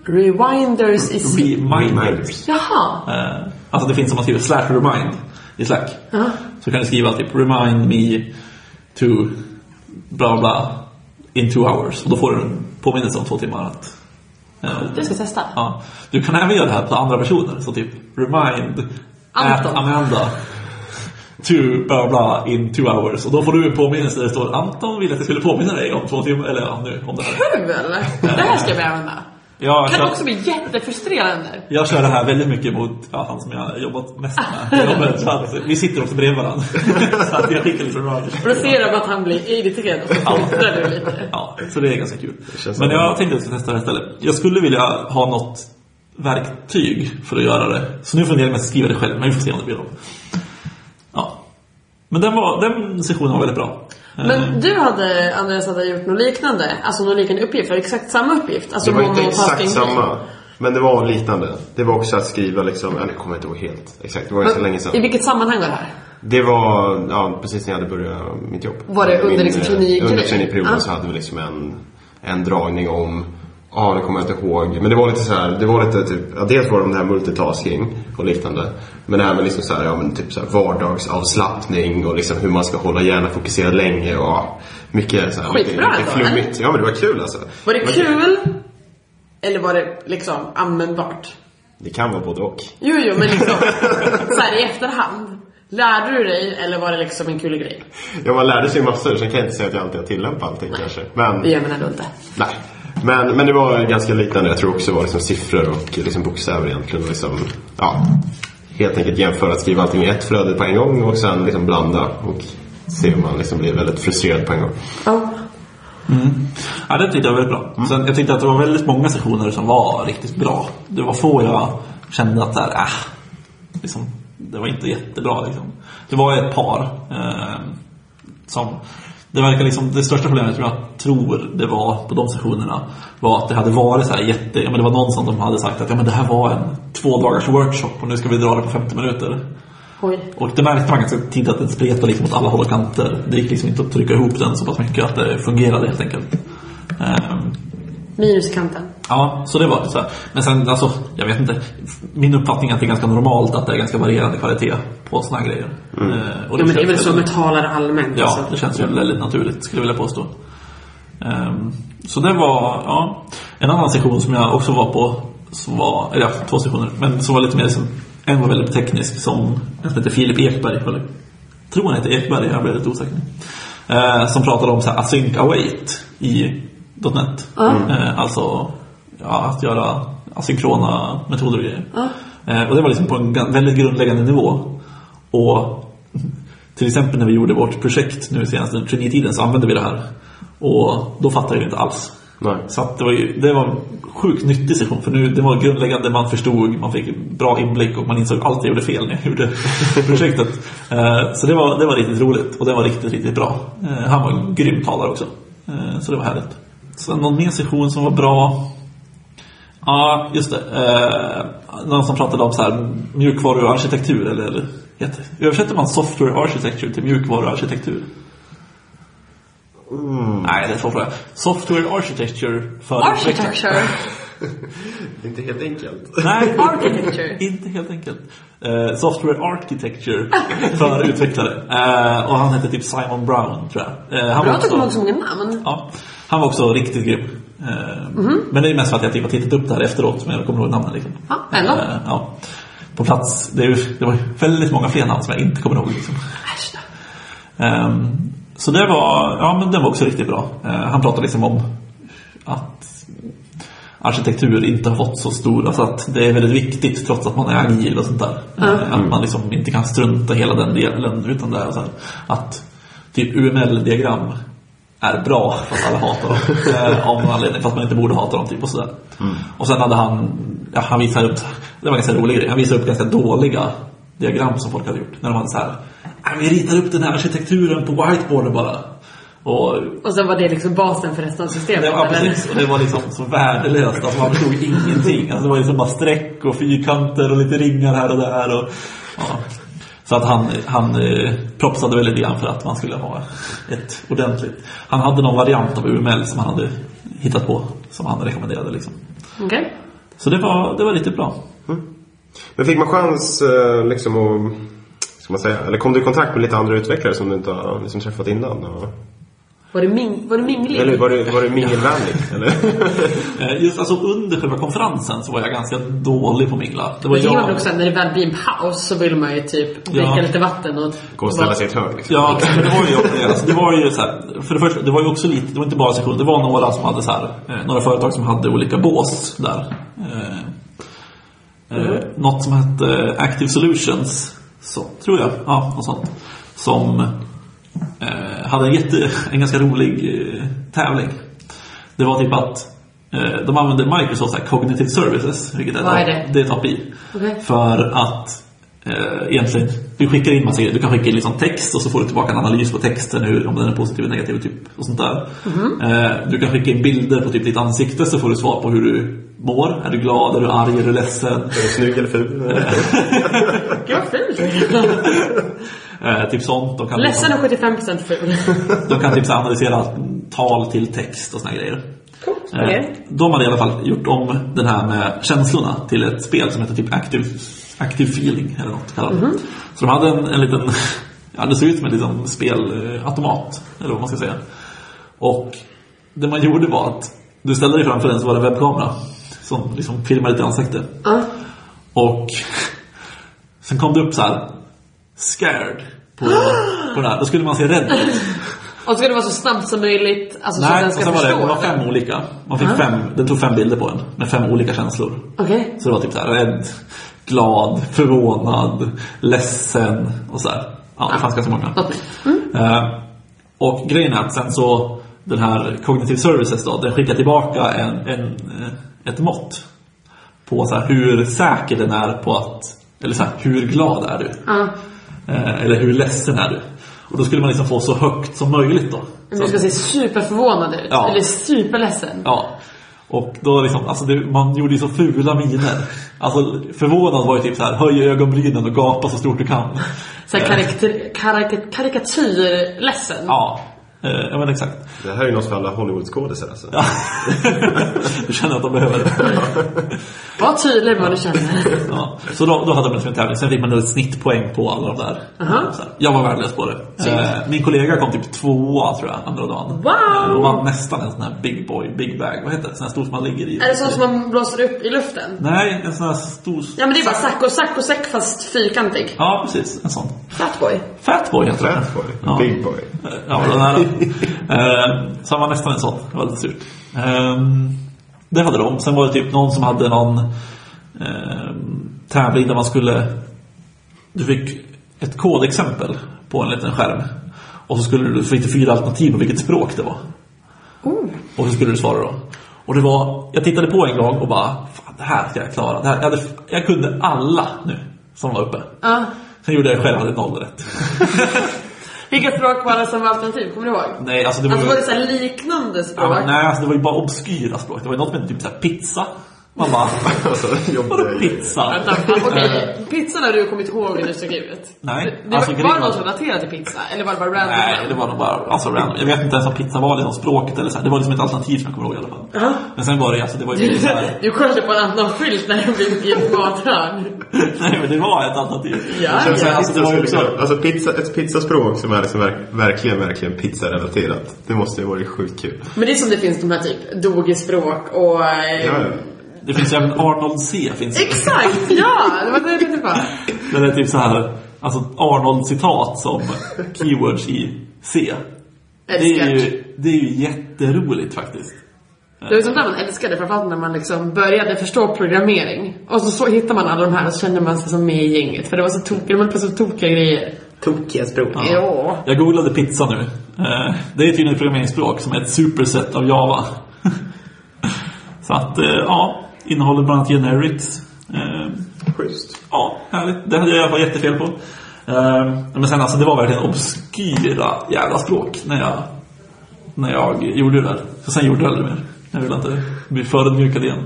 S1: rewinders i sin...
S3: Reminders.
S2: Reminders.
S1: Jaha.
S3: Eh, Ehm, alltså det finns som man skriver slash remind i Slack.
S1: Ja.
S3: Så kan du skriva typ “Remind me to bla bla in two hours” och då får du en påminnelse om två timmar. Att, eh,
S1: Det ska jag testa.
S3: ja. Du kan även göra det här på andra personer, så typ “Remind at
S1: Anton.
S3: Amanda to bla bla in two hours” och då får du en påminnelse där det står “Anton ville att jag skulle påminna dig om två timmar” eller ja, nu om det här.
S1: Kul! Det här ska jag börja använda.
S3: Ja,
S1: Kan
S2: Alltså-
S3: jag-
S1: också bli jättefrustrerande.
S3: Jag kör det här väldigt mycket mot ja, han som jag har jobbat mest med. på jobbet, så att vi sitter också bredvid varandra. så att jag skickar lite reminders.
S1: Och då ser de att han blir irriterad och så fnittrar du lite.
S3: Ja, så det är ganska kul.
S2: känns
S3: Men
S2: som-
S3: jag tänkte att jag ska testa det här istället. Jag skulle vilja ha något verktyg för att göra det. Så nu funderar jag med att skriva det själv, men vi får se om det blir av. Ja. Men den, var, den sessionen var väldigt bra. Eh,
S1: Men du hade, Andreas, hade gjort något liknande. Alltså någon liknande uppgift. Det var exakt samma uppgift. Alltså
S2: Det var inte
S1: monotasking.
S2: exakt samma. Men det var liknande. Det var också att skriva liksom, eller jag kommer inte ihåg helt exakt, det var ganska länge
S1: I
S2: sedan.
S1: vilket sammanhang var det här?
S2: Det var ja, precis när jag hade börjat mitt jobb.
S1: Var det under
S2: Min,
S1: liksom
S2: eh,
S1: traineegrejen?
S2: Under traineeperioden
S1: Ah.
S2: så hade vi liksom en, en dragning om, ja nu kommer jag inte ihåg, men det var lite så här, det var lite typ, ja, dels var det om det här multitasking och liknande. Men det här med liksom så här, ja men typ så här vardagsavslappning och liksom hur man ska hålla hjärnan fokuserad länge och ja, mycket så här, mycket,
S1: Skitbra
S2: mycket
S1: ändå,
S2: flummigt. Ja men det var kul alltså.
S1: Var det
S2: Men-
S1: kul? Eller var det liksom användbart?
S2: Det kan vara både och.
S1: Jo, jo, men liksom så här i efterhand. Lärde du dig eller var det liksom en kul grej?
S2: Ja, man lärde sig massor. Sen kan jag inte säga att jag alltid har tillämpat allting kanske. Men,
S1: Det gör man ändå inte.
S2: nej. Men, men det var ganska liknande. Jag tror också det var liksom siffror och liksom bokstäver egentligen. Och liksom, ja, helt enkelt jämföra, att skriva allting i ett flöde på en gång och sen liksom blanda och se om man liksom blir väldigt frustrerad på en gång.
S1: Ja.
S3: Mm. Ja, det tyckte jag var väldigt bra. Sen, jag tyckte att det var väldigt många sessioner som var riktigt bra. Det var få jag kände att så här, ah, liksom, det var inte jättebra. Liksom. Det var ett par eh, som... Det verkar liksom, det största problemet som jag tror det var på de sessionerna var att det hade varit så här jätte... Ja, men det var någon som de hade sagt att ja, men det här var en två dagars workshop och nu ska vi dra det på 50 minuter.
S1: Oj.
S3: Och det märkte man ganska tidigt att den spretade liksom åt alla håll och kanter. Det gick liksom inte att trycka ihop den så pass mycket att det fungerade helt enkelt. Ehm,
S1: Minuskanten.
S3: ja, så det var det. Så här. Men sen, alltså, jag vet inte. Min uppfattning är att det är ganska normalt att det är ganska varierande kvalitet på såna här grejer. Ehm, och
S1: Ja, men det är väl
S3: känns
S1: så med talare allmänt.
S3: Ja,
S1: alltså.
S3: det känns ju väldigt naturligt skulle jag vilja påstå. Ehm, så det var, ja. En annan session som jag också var på, som var, eller ja, två sessioner, men som var lite mer som, en var väldigt teknisk som, en som heter Filip Ekberg, eller tror han heter Ekberg, jag blev lite osäker. Eh, som pratade om så här, async await i .NET. Eh, alltså, ja, att göra asynkrona metoder och grejer. Eh, och det var liksom på en gan- väldigt grundläggande nivå. Och till exempel när vi gjorde vårt projekt nu senast under traineetiden så använde vi det här. Och då fattade jag inte alls.
S2: Nej.
S3: Så att det var ju, det var en sjukt nyttig session för nu, det var grundläggande, man förstod, man fick bra inblick och man insåg allt jag gjorde fel när jag gjorde projektet. Eh, Så det var, det var riktigt roligt och det var riktigt, riktigt bra. Eh, Han var en grym talare också. Eh, Så det var härligt. Sen någon mer session som var bra? Ja, just det. Eh, någon som pratade om så här, mjukvaruarkitektur eller heter, översätter man software architecture till mjukvaruarkitektur? Nej, det är en svår fråga. Software architecture för
S1: Architecture.
S2: Inte helt enkelt.
S3: Nej,
S1: Architecture.
S3: inte helt enkelt. Eh, software architecture för utvecklare. Eh, och han hette typ Simon Brown, tror jag. Eh, han
S1: Bra
S3: var
S1: att du kommer ihåg
S3: också,
S1: så många namn.
S3: ja, han var också riktigt grym. Eh, Men det är mest för att jag typ har tittat upp det här efteråt, men jag kommer ihåg namnen. Liksom.
S1: Mhm. Ja, ändå.
S3: Eh, ja. På plats, det, är, ju- det var väldigt många fler namn som jag inte kommer ihåg. Liksom.
S1: Äsch då.
S3: Ehm, så det var, ja men den var också riktigt bra. Eh, han pratade liksom om att arkitektur inte har fått så stor, alltså att det är väldigt viktigt trots att man är agil och sånt där. Eh, att man liksom inte kan strunta hela den delen utan det är så här, att typ UML-diagram är bra fast alla hatar dem eh, av någon anledning, fast man inte borde hata dem typ och sådär. Och sen hade han, ja han visade upp, det var en ganska rolig grej, han visade upp ganska dåliga diagram som folk hade gjort. När de hade så här, "Ah, vi ritar upp den här arkitekturen på whiteboarden bara. Och
S1: Och sen var det liksom basen för resten av systemet.
S3: det var,
S1: eller?
S3: precis, och det var liksom så värdelöst, alltså man förstod ingenting. Alltså det var liksom bara streck och fyrkanter och lite ringar här och där. Och, ja. Så att han, han eh, propsade väldigt grann för att man skulle ha ett ordentligt... Han hade någon variant av UML som han hade hittat på, som han rekommenderade. Liksom.
S1: Okej.
S3: Så det var, det var riktigt bra.
S2: Men fick man chans eh, liksom att ska man säga? Eller kom du i kontakt med lite andra utvecklare som du inte har liksom träffat innan? Och,
S1: Var du, ming, var du minglig?
S2: eller var du, var du mingelvänlig? eller?
S3: Eh, Just alltså under själva konferensen så var jag ganska dålig på att mingla. Det var
S1: Det gör man
S3: jag.
S1: också när det väl blir en paus så vill man ju typ dricka
S3: Ja.
S1: lite vatten och...
S2: Gå och ställa sig i ett hörn liksom.
S3: Ja, men det var ju jag. och flera. Så det var ju så här, för det första, det var ju också lite, det var inte bara session, det var några som hade så här, eh, några företag som hade olika bås där. Eh,
S1: Mm.
S3: Eh, något som hette Active Solutions, så, tror jag. Ja, något sånt. Som eh, hade en, jätte, en ganska rolig eh, tävling. Det var typ att eh, de använde Microsoft så här, Cognitive Services, vilket är,
S1: Vad är
S3: ett-
S1: det?
S3: det är ett API.
S1: Okej.
S3: För att eh, egentligen, du skickar in massa, du kan skicka in liksom text och så får du tillbaka en analys på texten, hur, om den är positiv eller negativ typ, och sånt där. Eh, du kan skicka in bilder på typ ditt ansikte så får du svar på hur du mår. Är du glad? Är du arg? Är du ledsen?
S2: Är du snygg eller ful?
S1: Gud vad fint!
S3: Eh, typ sånt. De kan,
S1: Ledsen och 75% ful.
S3: de kan typ så här analysera tal till text och såna grejer.
S1: Coolt.
S3: Eh,
S1: Okej.
S3: De hade i alla fall gjort om den här med känslorna till ett spel som heter typ Active, Active Feeling eller något kallat.
S1: Mhm.
S3: Så de hade en, en liten, ja det såg ut som en liten spelautomat, eller vad man ska säga. Och det man gjorde var att du ställde dig framför den så var det en webbkamera som liksom filmade ditt ansikte.
S1: Ja.
S3: Och sen kom det upp så här scared på, på den här. Då skulle man se rädd ut.
S1: Och så ska det vara så snabbt som möjligt, alltså så att
S3: Nej,
S1: den
S3: och
S1: ska
S3: sen var det,
S1: förstå.
S3: det var fem olika. Man fick fem, den tog fem bilder på en med fem olika känslor.
S1: Okej.
S3: Så det var typ så här rädd, glad, förvånad, ledsen och så här. Ja, det fanns ganska många.
S1: Något mer.
S3: Eh, och grejen är att sen så den här Cognitive Services då, den skickar tillbaka en, en, eh, ett mått på så här hur säker den är på att, eller så här, hur glad är du?
S1: Ja.
S3: Eh, eller hur ledsen är du? Och då skulle man liksom få så högt som möjligt då.
S1: Men Mm,
S3: Så
S1: Du
S3: att-
S1: ska se superförvånad ut.
S3: Ja.
S1: Eller superledsen.
S3: Ja. Och då liksom, alltså det, man gjorde ju så fula miner. Alltså förvånad var ju typ så här, höj ögonbrynen och gapa så stort du kan.
S1: Såhär karikatyr, karik, karikatyrledsen.
S3: Ja, eh, ja men exakt.
S2: Det här är ju något för alla Hollywoodskådisar alltså.
S3: Du känner att de behöver det.
S1: Var tydlig med vad du känner.
S3: Ja. Så då, då hade man liksom en tävling, sen fick man ett snittpoäng på alla de där.
S1: Aha.
S3: Så här, Jag var värdelös på det. Eh, min kollega kom typ tvåa tror jag, andra dagen.
S1: Wow!
S3: Eh, och vann nästan en sån här big boy, big bag, vad heter det? Sån här stor som man ligger i.
S1: är det sånt som man blåser upp i luften?
S3: Nej, en sån här stor...
S1: Ja men det är bara sack och sack och sack fast fyrkantig.
S3: Ja, precis. En sån.
S1: Fatboy.
S3: Fatboy heter den.
S2: Fat boy.
S3: Ja.
S2: Big boy.
S3: Ja, den här. Eh, så han var nästan en sån. Det var lite surt. Ehm, det hade de. Sen var det typ någon som hade någon ehm, tävling där man skulle... Du fick ett kodexempel på en liten skärm. Och så skulle du, så fick du fyra alternativ på vilket språk det var.
S1: Oh.
S3: Och hur skulle du svara då? Och det var, jag tittade på en gång och bara, fan det här ska jag klara. Det här, jag, hade, jag kunde alla nu som var uppe.
S1: Ja.
S3: Sen gjorde jag själv, hade noll rätt.
S1: Vilka språk var det som var alternativ? Kommer du ihåg?
S3: Nej, alltså det var
S1: Alltså
S3: ju-
S1: var det såhär liknande språk?
S3: Ja, men, nej, alltså det var ju bara obskyra språk. Det var ju något med typ såhär pizza. Man bara,
S2: Alltså, jobbiga
S3: vadå
S2: grejer.
S3: pizza?
S1: Vänta, fan, okej. Pizzan har du kommit ihåg när du stod ut?
S3: Eh. Nej,
S1: Det, det
S3: alltså,
S1: var, var det
S3: grejen-
S1: någon som relaterade till pizza? Eller var det bara random?
S3: Eh, Nej, det var nog bara alltså, random. Jag vet inte ens om pizza var liksom språket eller så här. Det var liksom ett alternativ som jag kommer ihåg i alla fall.
S1: Ja.
S3: Men sen var det alltså, det var ju så här.
S1: Du kollade på en annan skylt när du blev i ett mathörn.
S3: Nej, men det var ett alternativ.
S1: Ja,
S3: Men sen,
S1: ja.
S3: alltså, det var ju också,
S2: Alltså pizza, ett pizzaspråk som är liksom verk, verkligen, verkligen pizzarelaterat. Det måste ju varit sjukt kul.
S1: Men det är som det finns de här typ dogispråk och... eh,
S2: Ja, ja.
S3: det finns ju även Arnold C. Finns det.
S1: Exakt! Ja! Det var det jag tänkte på.
S3: Där det är typ så här, alltså Arnold-citat som keywords i C. Det är,
S1: Älskar.
S3: ju, det är ju jätteroligt faktiskt.
S1: Det var sånt där man älskade framförallt när man liksom började förstå programmering. Och så, så hittar man alla de här och så känner man sig som med i gänget. För det var så tokiga, de höll på så tokiga grejer. Tokiga språk. Ja. ja.
S3: Jag googlade pizza nu. Eh, Det är tydligen ett programmeringsspråk som är ett superset av Java. Så att, eh, ja. Innehåller bland annat generics. Eh,
S2: Schysst.
S3: Ja, härligt. Det hade jag i alla fall jättefel på. Eh, Men sen alltså, det var verkligen obskyra jävla språk när jag, när jag gjorde det där. Så sen gjorde jag aldrig mer. Jag ville inte bli förödmjukad igen.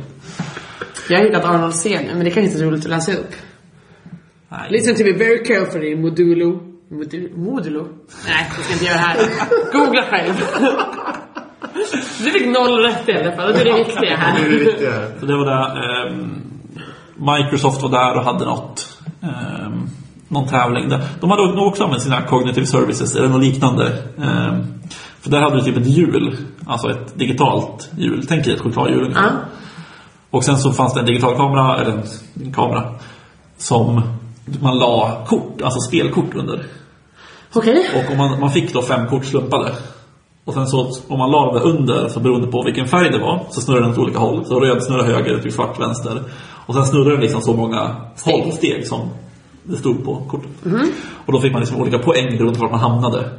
S1: Jag har hittat Arnold C nu, men det kanske inte är roligt att läsa upp.
S3: Nej.
S1: Listen to me very carefully, modulo. Modu- Modulo? Nej, jag ska inte göra det här. Googla själv. Du fick noll rätt i alla fall, och det är det viktiga
S2: Det är
S1: här.
S2: det riktiga.
S3: Så det var det. ehm, Microsoft var där och hade något. ehm, någon tävling. Där. De hade nog också använt sina cognitive services eller något liknande. Eh, för där hade du typ ett hjul, alltså ett digitalt hjul. Tänk dig ett chokladhjul ungefär.
S1: Ja.
S3: Och sen så fanns det en digital kamera, eller en, en kamera, som man la kort, alltså spelkort under.
S1: Okej.
S3: Och om man, man fick då fem kort slumpade. Och sen så om man la det under, så beroende på vilken färg det var, så snurrade den åt olika håll. Så röd snurrar höger, typ svart vänster. Och sen snurrade den liksom så många
S1: Steg. Mhm.
S3: steg, steg som det stod på kortet. Och då fick man liksom olika poäng beroende på vart man hamnade.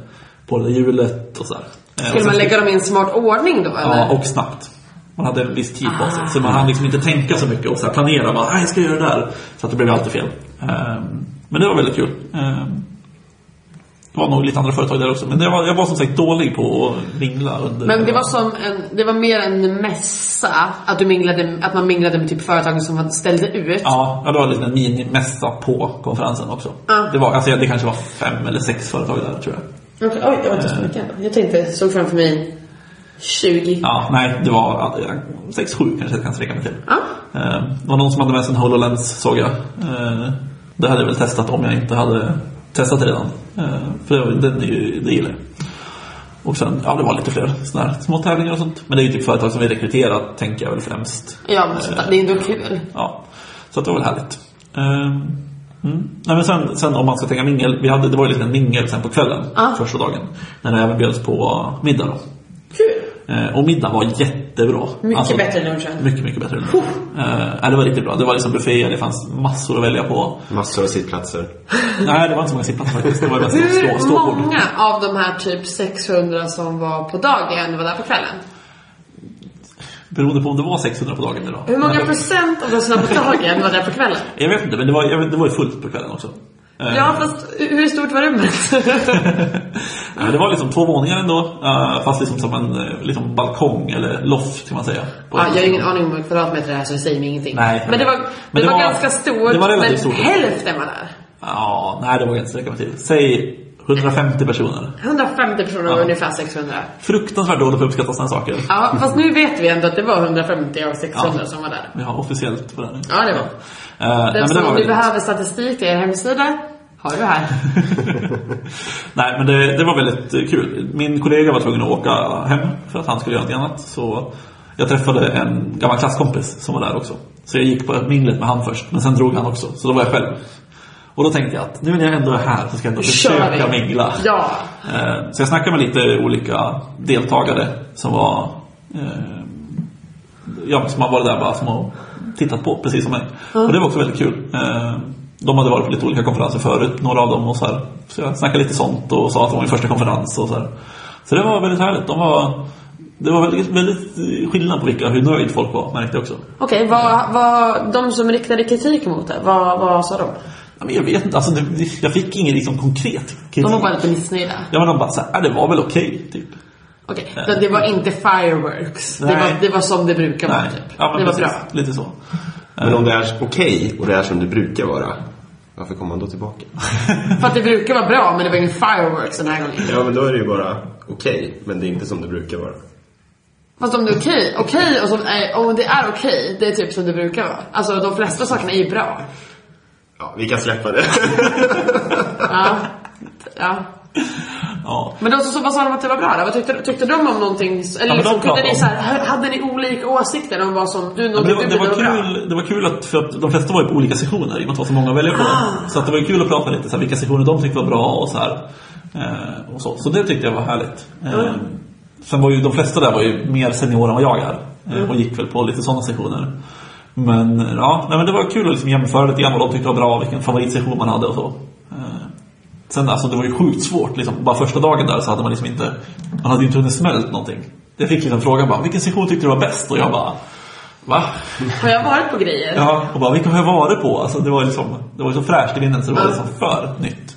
S3: På det där hjulet och sådär. Eh, och
S1: Skulle
S3: sen-
S1: man lägga dem i en smart ordning då eller?
S3: Ja, och snabbt. Man hade en viss tid på
S1: Ah.
S3: sig. Så man hann liksom inte tänka så mycket och så här planera. Bara, "Ah, jag ska göra det där. Så att det blev alltid fel. Ehm, Men det var väldigt kul. Ehm, Det var nog lite andra företag där också. Men det var, jag var som sagt dålig på att mingla. Under,
S1: Men det var som en, det var mer en mässa, att, du minglade, att man minglade med typ företagen som var- ställde ut.
S3: Ja, ja, det var liksom en minimässa på konferensen också.
S1: Ja.
S3: Det, var, alltså, det kanske var fem eller sex företag där tror jag.
S1: Okej, oj, det var inte så mycket ändå. Jag tänkte, såg framför mig 20.
S3: Ja, nej, det var eh, sex, sju kanske jag kan sträcka mig till.
S1: Ja.
S3: Eh, Det var någon som hade med sig en HoloLens såg jag. Eh, Det hade jag väl testat om jag inte hade testat det redan. Eh, För det, var- det, det, det gillar jag. Och sen, ja det var lite fler sådana här små tävlingar och sånt. Men det är ju typ företag som vi rekryterar, tänker jag väl främst. Eh,
S1: Ja, men sånt där, det är ändå kul.
S3: Ja, så att det var väl härligt. Ehm, Mm. Nej, men sen, sen om man ska tänka mingel, vi hade, det var ju lite en mingel sen på kvällen,
S1: Ja.
S3: första dagen. När det även bjöds på middag då.
S1: Kul!
S3: Eh, Och middagen var jättebra. Alltså,
S1: Mycket bättre än lunchen.
S3: Mycket, mycket bättre än lunchen. Eh, nej, det var riktigt bra. Det var liksom buffé, det fanns massor att välja på.
S2: Massor av sittplatser.
S3: Nej, det var inte så många sittplatser faktiskt. Det var mest stå,
S1: Hur
S3: ståbord.
S1: många av de här typ 600 som var på dagen var där på kvällen?
S3: Beroende på om det var 600 på dagen eller då.
S1: Hur
S3: Men
S1: många
S3: det-
S1: procent av de som var på dagen var där på kvällen?
S3: Jag vet inte, men det var, jag vet, det var ju fullt på kvällen också. Eh,
S1: Ja, fast hur stort var rummet?
S3: nej, det var liksom två våningar ändå, eh, fast liksom som en eh, liksom balkong eller loft kan man säga. På-
S1: Ja, jag har ingen aning om hur många kvadratmeter det är så det säger mig ingenting.
S3: Nej.
S1: men det var,
S3: Men
S1: det
S3: det
S1: var,
S3: var-
S1: ganska stort,
S3: det var relativt
S1: men
S3: stort.
S1: hälften var där.
S3: Ja, nej det vågar jag inte sträcka mig till. Säg 150 personer.
S1: 150 personer och
S3: Ja.
S1: ungefär 600.
S3: Fruktansvärt dåligt på att uppskatta sådana saker.
S1: Ja, fast nu vet vi ändå att det var 150 av 600 som var där.
S3: Vi har officiellt på det nu.
S1: Ja, det var. Den
S3: Eh, nej, men det var
S1: som du
S3: väldigt-
S1: behöver statistik till er hemsida har du här.
S3: Nej, men det, det var väldigt eh, kul. Min kollega var tvungen att åka hem för att han skulle göra något annat. Så jag träffade en gammal klasskompis som var där också. Så jag gick på minglet med han först, men sen drog han också. Så då var jag själv. Och då tänkte jag att nu när jag ändå är här så ska jag ändå
S1: Kör
S3: försöka
S1: vi.
S3: mingla.
S1: Ja.
S3: Eh, Så jag snackade med lite olika deltagare som var eh, ja, som har varit där bara som har tittat på, precis som mig. Och det var också väldigt kul. Eh, De hade varit på lite olika konferenser förut, några av dem och så här. Så jag snackade lite sånt och sa att det var min första konferens och så här. Så det var väldigt härligt. De var, det var väldigt, väldigt skillnad på vilka, hur nöjd folk var, märkte jag också.
S1: Okej, vad, vad, de som riktade kritik mot det, vad, vad sa de?
S3: Ja, men Jag vet inte, alltså, det, jag fick ingen liksom, konkret kritik.
S1: De var bara lite missnöjda.
S3: Ja, men de bara så här, "Ah, det var väl okej, typ.
S1: Okej, så det var inte fireworks. Det
S3: Nej.
S1: var, det var som det brukar vara,
S3: Nej.
S1: typ.
S3: Ja, men
S1: det var
S3: precis,
S1: bra.
S3: Lite så.
S2: Men om det är okej och det är som det brukar vara, varför kommer man då tillbaka?
S1: För att det brukar vara bra, men det var ingen fireworks den här gången.
S2: Ja, men då är det ju bara okej, men det är inte som det brukar vara.
S1: Fast om det är okej, okej och som är, om det är okej, det är typ som det brukar vara. Alltså de flesta sakerna är ju bra.
S2: Ja, vi kan släppa det.
S1: Ja. ja.
S3: Ja.
S1: Men de som så- vad sa de att det var bra då? Vad tyckte, tyckte de om någonting? s- Eller
S3: Ja, men de
S1: liksom, kunde
S3: pratade
S1: ni
S3: om-
S1: så här, hade ni olika åsikter om vad som, du,
S3: Ja, men
S1: någonting
S3: det,
S1: du
S3: var, det, var
S1: tyckte bra?
S3: kul, det var kul att, för att de flesta var ju på olika sessioner i och med att det var så många att välja på. Så att det var ju kul att prata lite så här, vilka sessioner de tyckte var bra och så här. Eh, och så. så det tyckte jag var härligt. Eh, sen var ju de flesta där var ju mer seniora än vad jag är eh, och gick väl på lite sådana sessioner. Men eh, ja, nej, men det var kul att liksom jämföra lite grann vad de tyckte var bra, vilken favoritsession man hade och så. Eh, Sen alltså det var ju sjukt svårt liksom. Bara första dagen där så hade man liksom inte Man hade ju inte hunnit smält någonting. Jag fick liksom frågan bara, vilken session tyckte du var bäst? Och jag bara, va?
S1: Har jag varit på grejer?
S3: Ja, och bara, vilka har jag varit på? Alltså, det var ju liksom, det var ju så fräscht i vinden så det var liksom för nytt.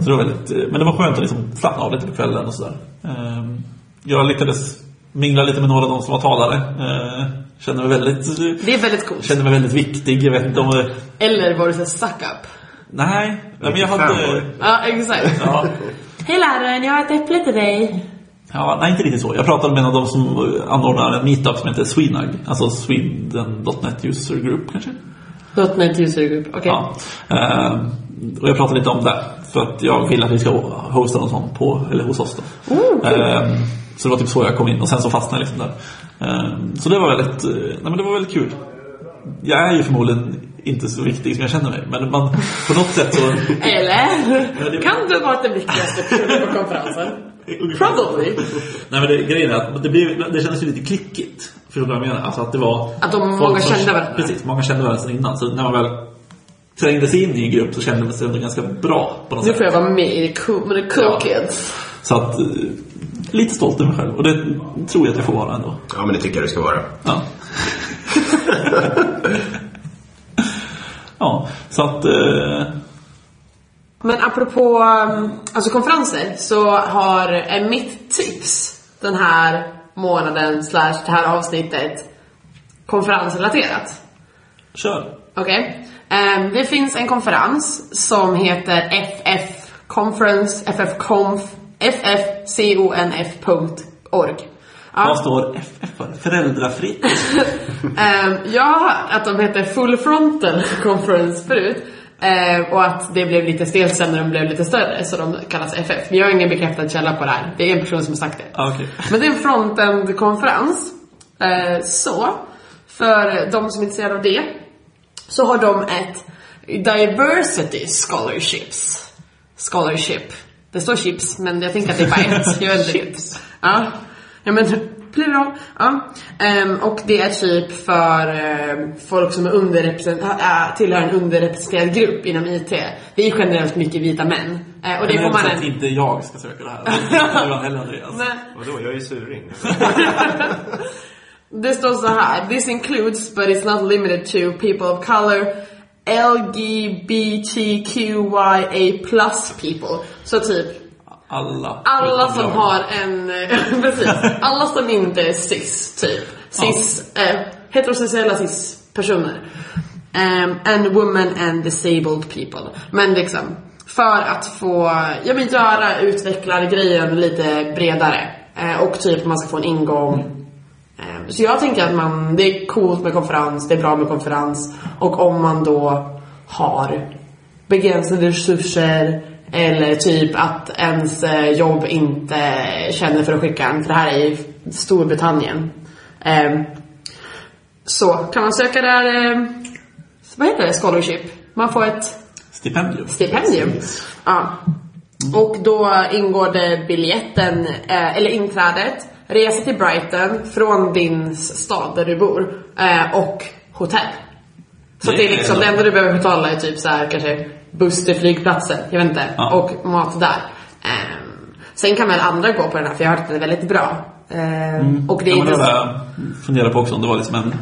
S3: Så det var väldigt, eh, men det var skönt att liksom slappna av lite på kvällen och sådär. Ehm, Jag lyckades mingla lite med några av de som var talare. Ehm, Kände mig väldigt,
S1: Det är väldigt coolt.
S3: kände mig väldigt viktig. Jag vet inte om... det-
S1: Eller var det så här suck up?
S3: Nej, nej, men jag
S2: Fanboy.
S3: hade...
S1: Ja, exakt.
S3: Ja,
S1: Hej läraren, jag har ett äpple till dig.
S3: ja, nej, inte riktigt så. Jag pratade med en av de som eh, anordnar en meetup som heter Swinag. Alltså Sweden.net User Group kanske?
S1: Låt mig till user group, okej.
S3: Ja. Eh, och jag pratade lite om det. För att jag vill att vi ska hosta någon sån på, eller hos oss då. Ehm, så det var typ så jag kom in och sen så fastnade jag liksom där. Ehm, så det var väldigt, eh, nej men det var väldigt kul. Jag är ju förmodligen inte så viktig som jag känner mig. Men man, på något sätt så...
S1: Eller?
S3: det-
S1: Kan du vara den viktigaste personen på konferensen? Probably.
S3: Nej men det, grejen är att det, blev, det kändes ju lite klickigt. Förstår du vad jag menar? Alltså att det var...
S1: Att de-
S3: folk
S1: många
S3: som-
S1: kände varandra.
S3: Precis, många kände varandra sedan innan. Så när man väl trängde sig in i en grupp så kände man sig ändå ganska bra på något
S1: Nu
S3: sätt.
S1: får jag vara med i the cool, med the cool
S3: Ja.
S1: kids.
S3: Så att, eh, lite stolt över mig själv. Och det tror jag att jag får vara ändå.
S2: Ja, men det tycker jag det ska vara.
S3: Ja. ja, så att... Eh,
S1: Men apropå um, alltså konferenser så har är mitt tips den här månaden slash det här avsnittet konferensrelaterat.
S3: kör.
S1: Okej. Ehm, det finns en konferens som heter FF Conference, FFconf, ffconf.org.
S3: Vad
S1: Ja,
S3: står FF för? Föräldrafritt?
S1: ehm, jag har hört att de hette Full Frontal Conference förut. ehm, och att det blev lite stelt sen när de blev lite större, så de kallas FF. Vi har ingen bekräftad källa på det här. Det är en person som har sagt det.
S3: Ja, Ah, Okej.
S1: Men det är en frontend-konferens. Eh, så, för de som är intresserade av det, så har de ett Diversity Scholarships. Scholarship. Det står chips, men jag tänker att det är bara ett. Jag vet inte riktigt. Ja. ja, men plural. Ja. Ehm, och det är typ för eh, folk som är underrepresent- äh, tillhör en underrepresenterad grupp inom IT. Det är generellt mycket vita män. Eh, och det
S3: Men
S1: får
S3: det
S1: man
S3: så att
S1: en...
S3: inte jag ska söka det här. Det är inte du heller Andreas.
S1: Nej.
S2: Vadå, jag är ju suring.
S1: Det står så här. This includes, but it's not limited to, people of color, LGBTQIA plus people. Så typ,
S3: Alla.
S1: alla
S3: förutom
S1: som
S3: jag.
S1: har en... precis. Alla som inte är cis, typ. Cis, eh, heterosexuella cis-personer. Ehm, and women and disabled people. Men liksom, för att få, ja men göra utvecklargrejen lite bredare. Eh, och typ man ska få en ingång. Ehm, Så jag tänker att man, det är coolt med konferens, det är bra med konferens och om man då har begränsade resurser eller typ att ens eh, jobb inte känner för att skicka en, för det här är i Storbritannien. Ehm, Så kan man söka där, eh, vad heter det, scholarship? Man får ett
S3: Stipendium.
S1: stipendium. Ja. Och då ingår det biljetten, eh, eller inträdet, resa till Brighton från din stad där du bor eh, och hotell. Så
S3: Det
S1: det är
S3: är
S1: liksom
S3: bra.
S1: det enda du behöver betala är typ så här kanske buss till flygplatsen, jag vet inte,
S3: Ja.
S1: och mat där. Ehm, sen kan väl andra gå på den här för jag har hört att den är väldigt bra. Ehm, Och det är
S3: Mm. ja,
S1: inte
S3: men det
S1: så-
S3: var det jag funderade på också om det var liksom en,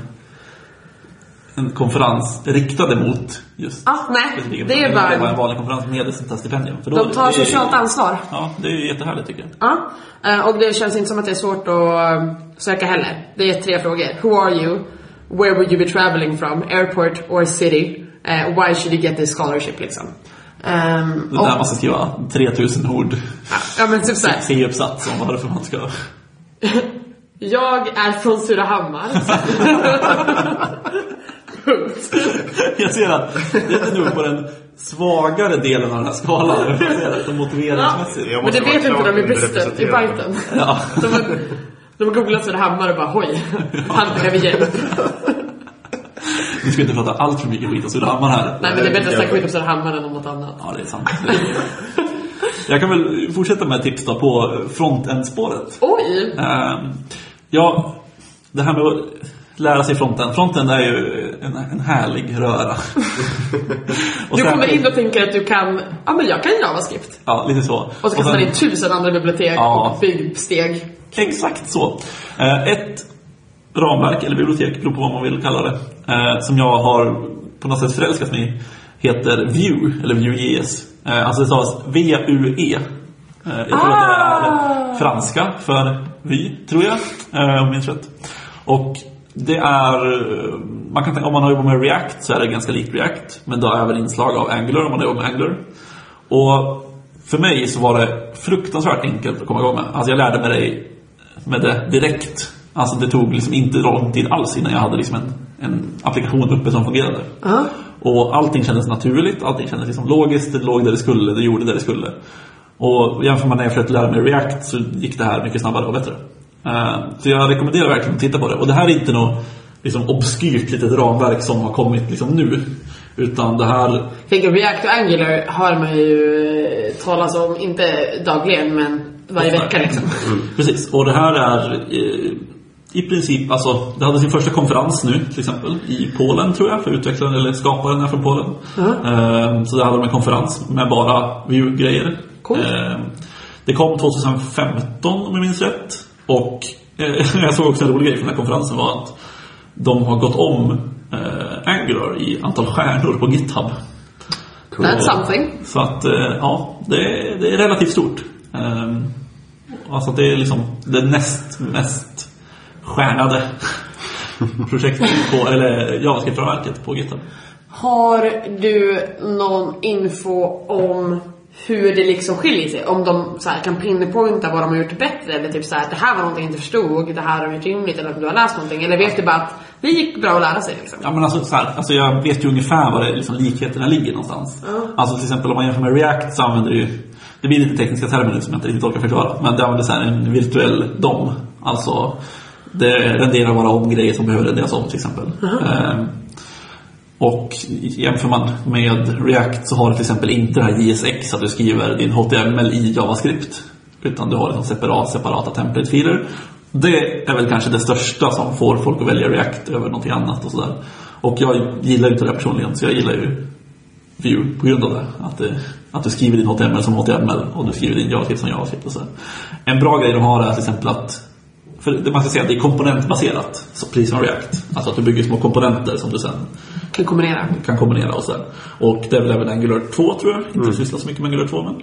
S3: en konferens riktad mot just
S1: Ja, nej,
S3: specifiken
S1: det är
S3: personen. Det var en
S1: bara...
S3: vanlig konferens med ett sånt här stipendium. För då-
S1: De tar
S3: det är-
S1: socialt ansvar.
S3: Ja, det är ju jättehärligt tycker jag.
S1: Ja, eh, och det känns inte som att det är svårt att eh, söka heller. Det är tre frågor. Who are you? Where would you be traveling from? Airport or city? Eh, Why should you get this scholarship liksom? Ehm,
S3: Det
S1: och,
S3: där man ska skriva 3000 ord
S1: ja men typ såhär.
S3: C-uppsats om varför man ska...
S1: Jag är från Surahammar. Punkt.
S3: Jag ser att det är nog på den svagare delen av den här skalan. Jag ser att de motiveringsmässigt.
S2: Jag
S1: Men det
S2: måste
S1: vet
S2: vara
S1: inte
S2: klart
S1: de i Bristol, i
S2: underrepresenterad.
S1: Brighton.
S3: Ja.
S1: De, de googlar Surahammar och bara hoj, han behöver hjälp.
S3: Vi ska inte prata allt för mycket skit om Surahammar här.
S1: Nej men det är bättre att snacka skit om Surahammar än om något annat.
S3: Ja, det är sant. Det är- Jag kan väl fortsätta med tips då på frontend-spåret.
S1: Oj!
S3: Ehm, Ja, det här med att lära sig frontend. Frontend är ju en, en härlig röra. Och
S1: Du
S3: sen-
S1: kommer in och tänker att du kan, ja men jag kan JavaScript.
S3: Ja, lite så.
S1: Och så
S3: Och
S1: kastar
S3: sen-
S1: man in tusen andra bibliotek
S3: Ja.
S1: och byggsteg.
S3: Exakt så. Eh, Ett ramverk, eller bibliotek, beror på vad man vill kalla det, eh, som jag har på något sätt förälskat mig i, heter Vue, eller Vue.js. Eh, Alltså det stavas V-U-E. Eh, Jag tror att det är franska för vy, tror jag, eh, om jag minns rätt. Och det är, eh, man kan tänka, om man har jobbat med React så är det ganska likt React, men då även inslag av Angular om man har jobbat med Angular. Och för mig så var det fruktansvärt enkelt att komma igång med. Alltså jag lärde mig det, med det direkt. Alltså det tog liksom inte lång tid alls innan jag hade liksom en, en applikation uppe som fungerade.
S1: Ja.
S3: Och allting kändes naturligt, allting kändes liksom logiskt, det låg där det skulle, det gjorde det det skulle. Och jämför man när jag försökte lära mig React så gick det här mycket snabbare och bättre. Eh, Så jag rekommenderar verkligen att titta på det. Och det här är inte något liksom, obskyrt litet ramverk som har kommit liksom, nu. Utan det här
S1: Tänk React och Angular hör man ju eh, talas om, inte dagligen men varje vecka liksom.
S3: Mm. Precis, och det här är eh, i princip, alltså det hade sin första konferens nu till exempel i Polen tror jag, för utvecklaren eller skaparen är från Polen.
S1: Mhm.
S3: Eh, Så där hade de en konferens med bara Vue-grejer.
S1: Coolt.
S3: Eh, Det kom 2015 om jag minns rätt. Och eh, jag såg också en rolig grej från den här konferensen var att de har gått om eh, Angular i antal stjärnor på GitHub.
S1: That's something.
S3: Så att, eh, ja, det är, det är relativt stort. Ehm, Alltså det är liksom det näst mest stjärnade projektet på, eller JavaScript-ramverket på GitHub.
S1: Har du någon info om hur det liksom skiljer sig? Om de så här, kan pinpointa vad de har gjort bättre eller typ så här, det här var någonting jag inte förstod, det här har de gjort rimligt eller om du har läst någonting. Eller vet du bara att det gick bra att lära sig liksom?
S3: Ja, men alltså, så här, alltså jag vet ju ungefär var det, liksom, likheterna ligger någonstans.
S1: Ja.
S3: Alltså till exempel om man jämför med React så använder det ju, det blir lite tekniska termer nu som jag inte riktigt orkar förklara, men det använder så här en virtuell DOM. Alltså det renderar bara om grejer som behöver renderas om till exempel. Ehm, och jämför man med React så har du till exempel inte det här JSX att du skriver din HTML i JavaScript. Utan du har liksom separat, separata templatefiler. Det är väl kanske det största som får folk att välja React över någonting annat och sådär. Och jag gillar ju inte det här personligen så jag gillar ju Vue på grund av det. Att, det, att du skriver din HTML som HTML och du skriver din JavaScript som JavaScript. Och så. En bra grej de har är till exempel att för det, man ska säga att det är komponentbaserat, så precis som React. Alltså att du bygger små komponenter som du sen
S1: Kan kombinera.
S3: kan kombinera och sen. Och det är väl även Angular 2 tror jag, inte sysslar så mycket med Angular 2 men.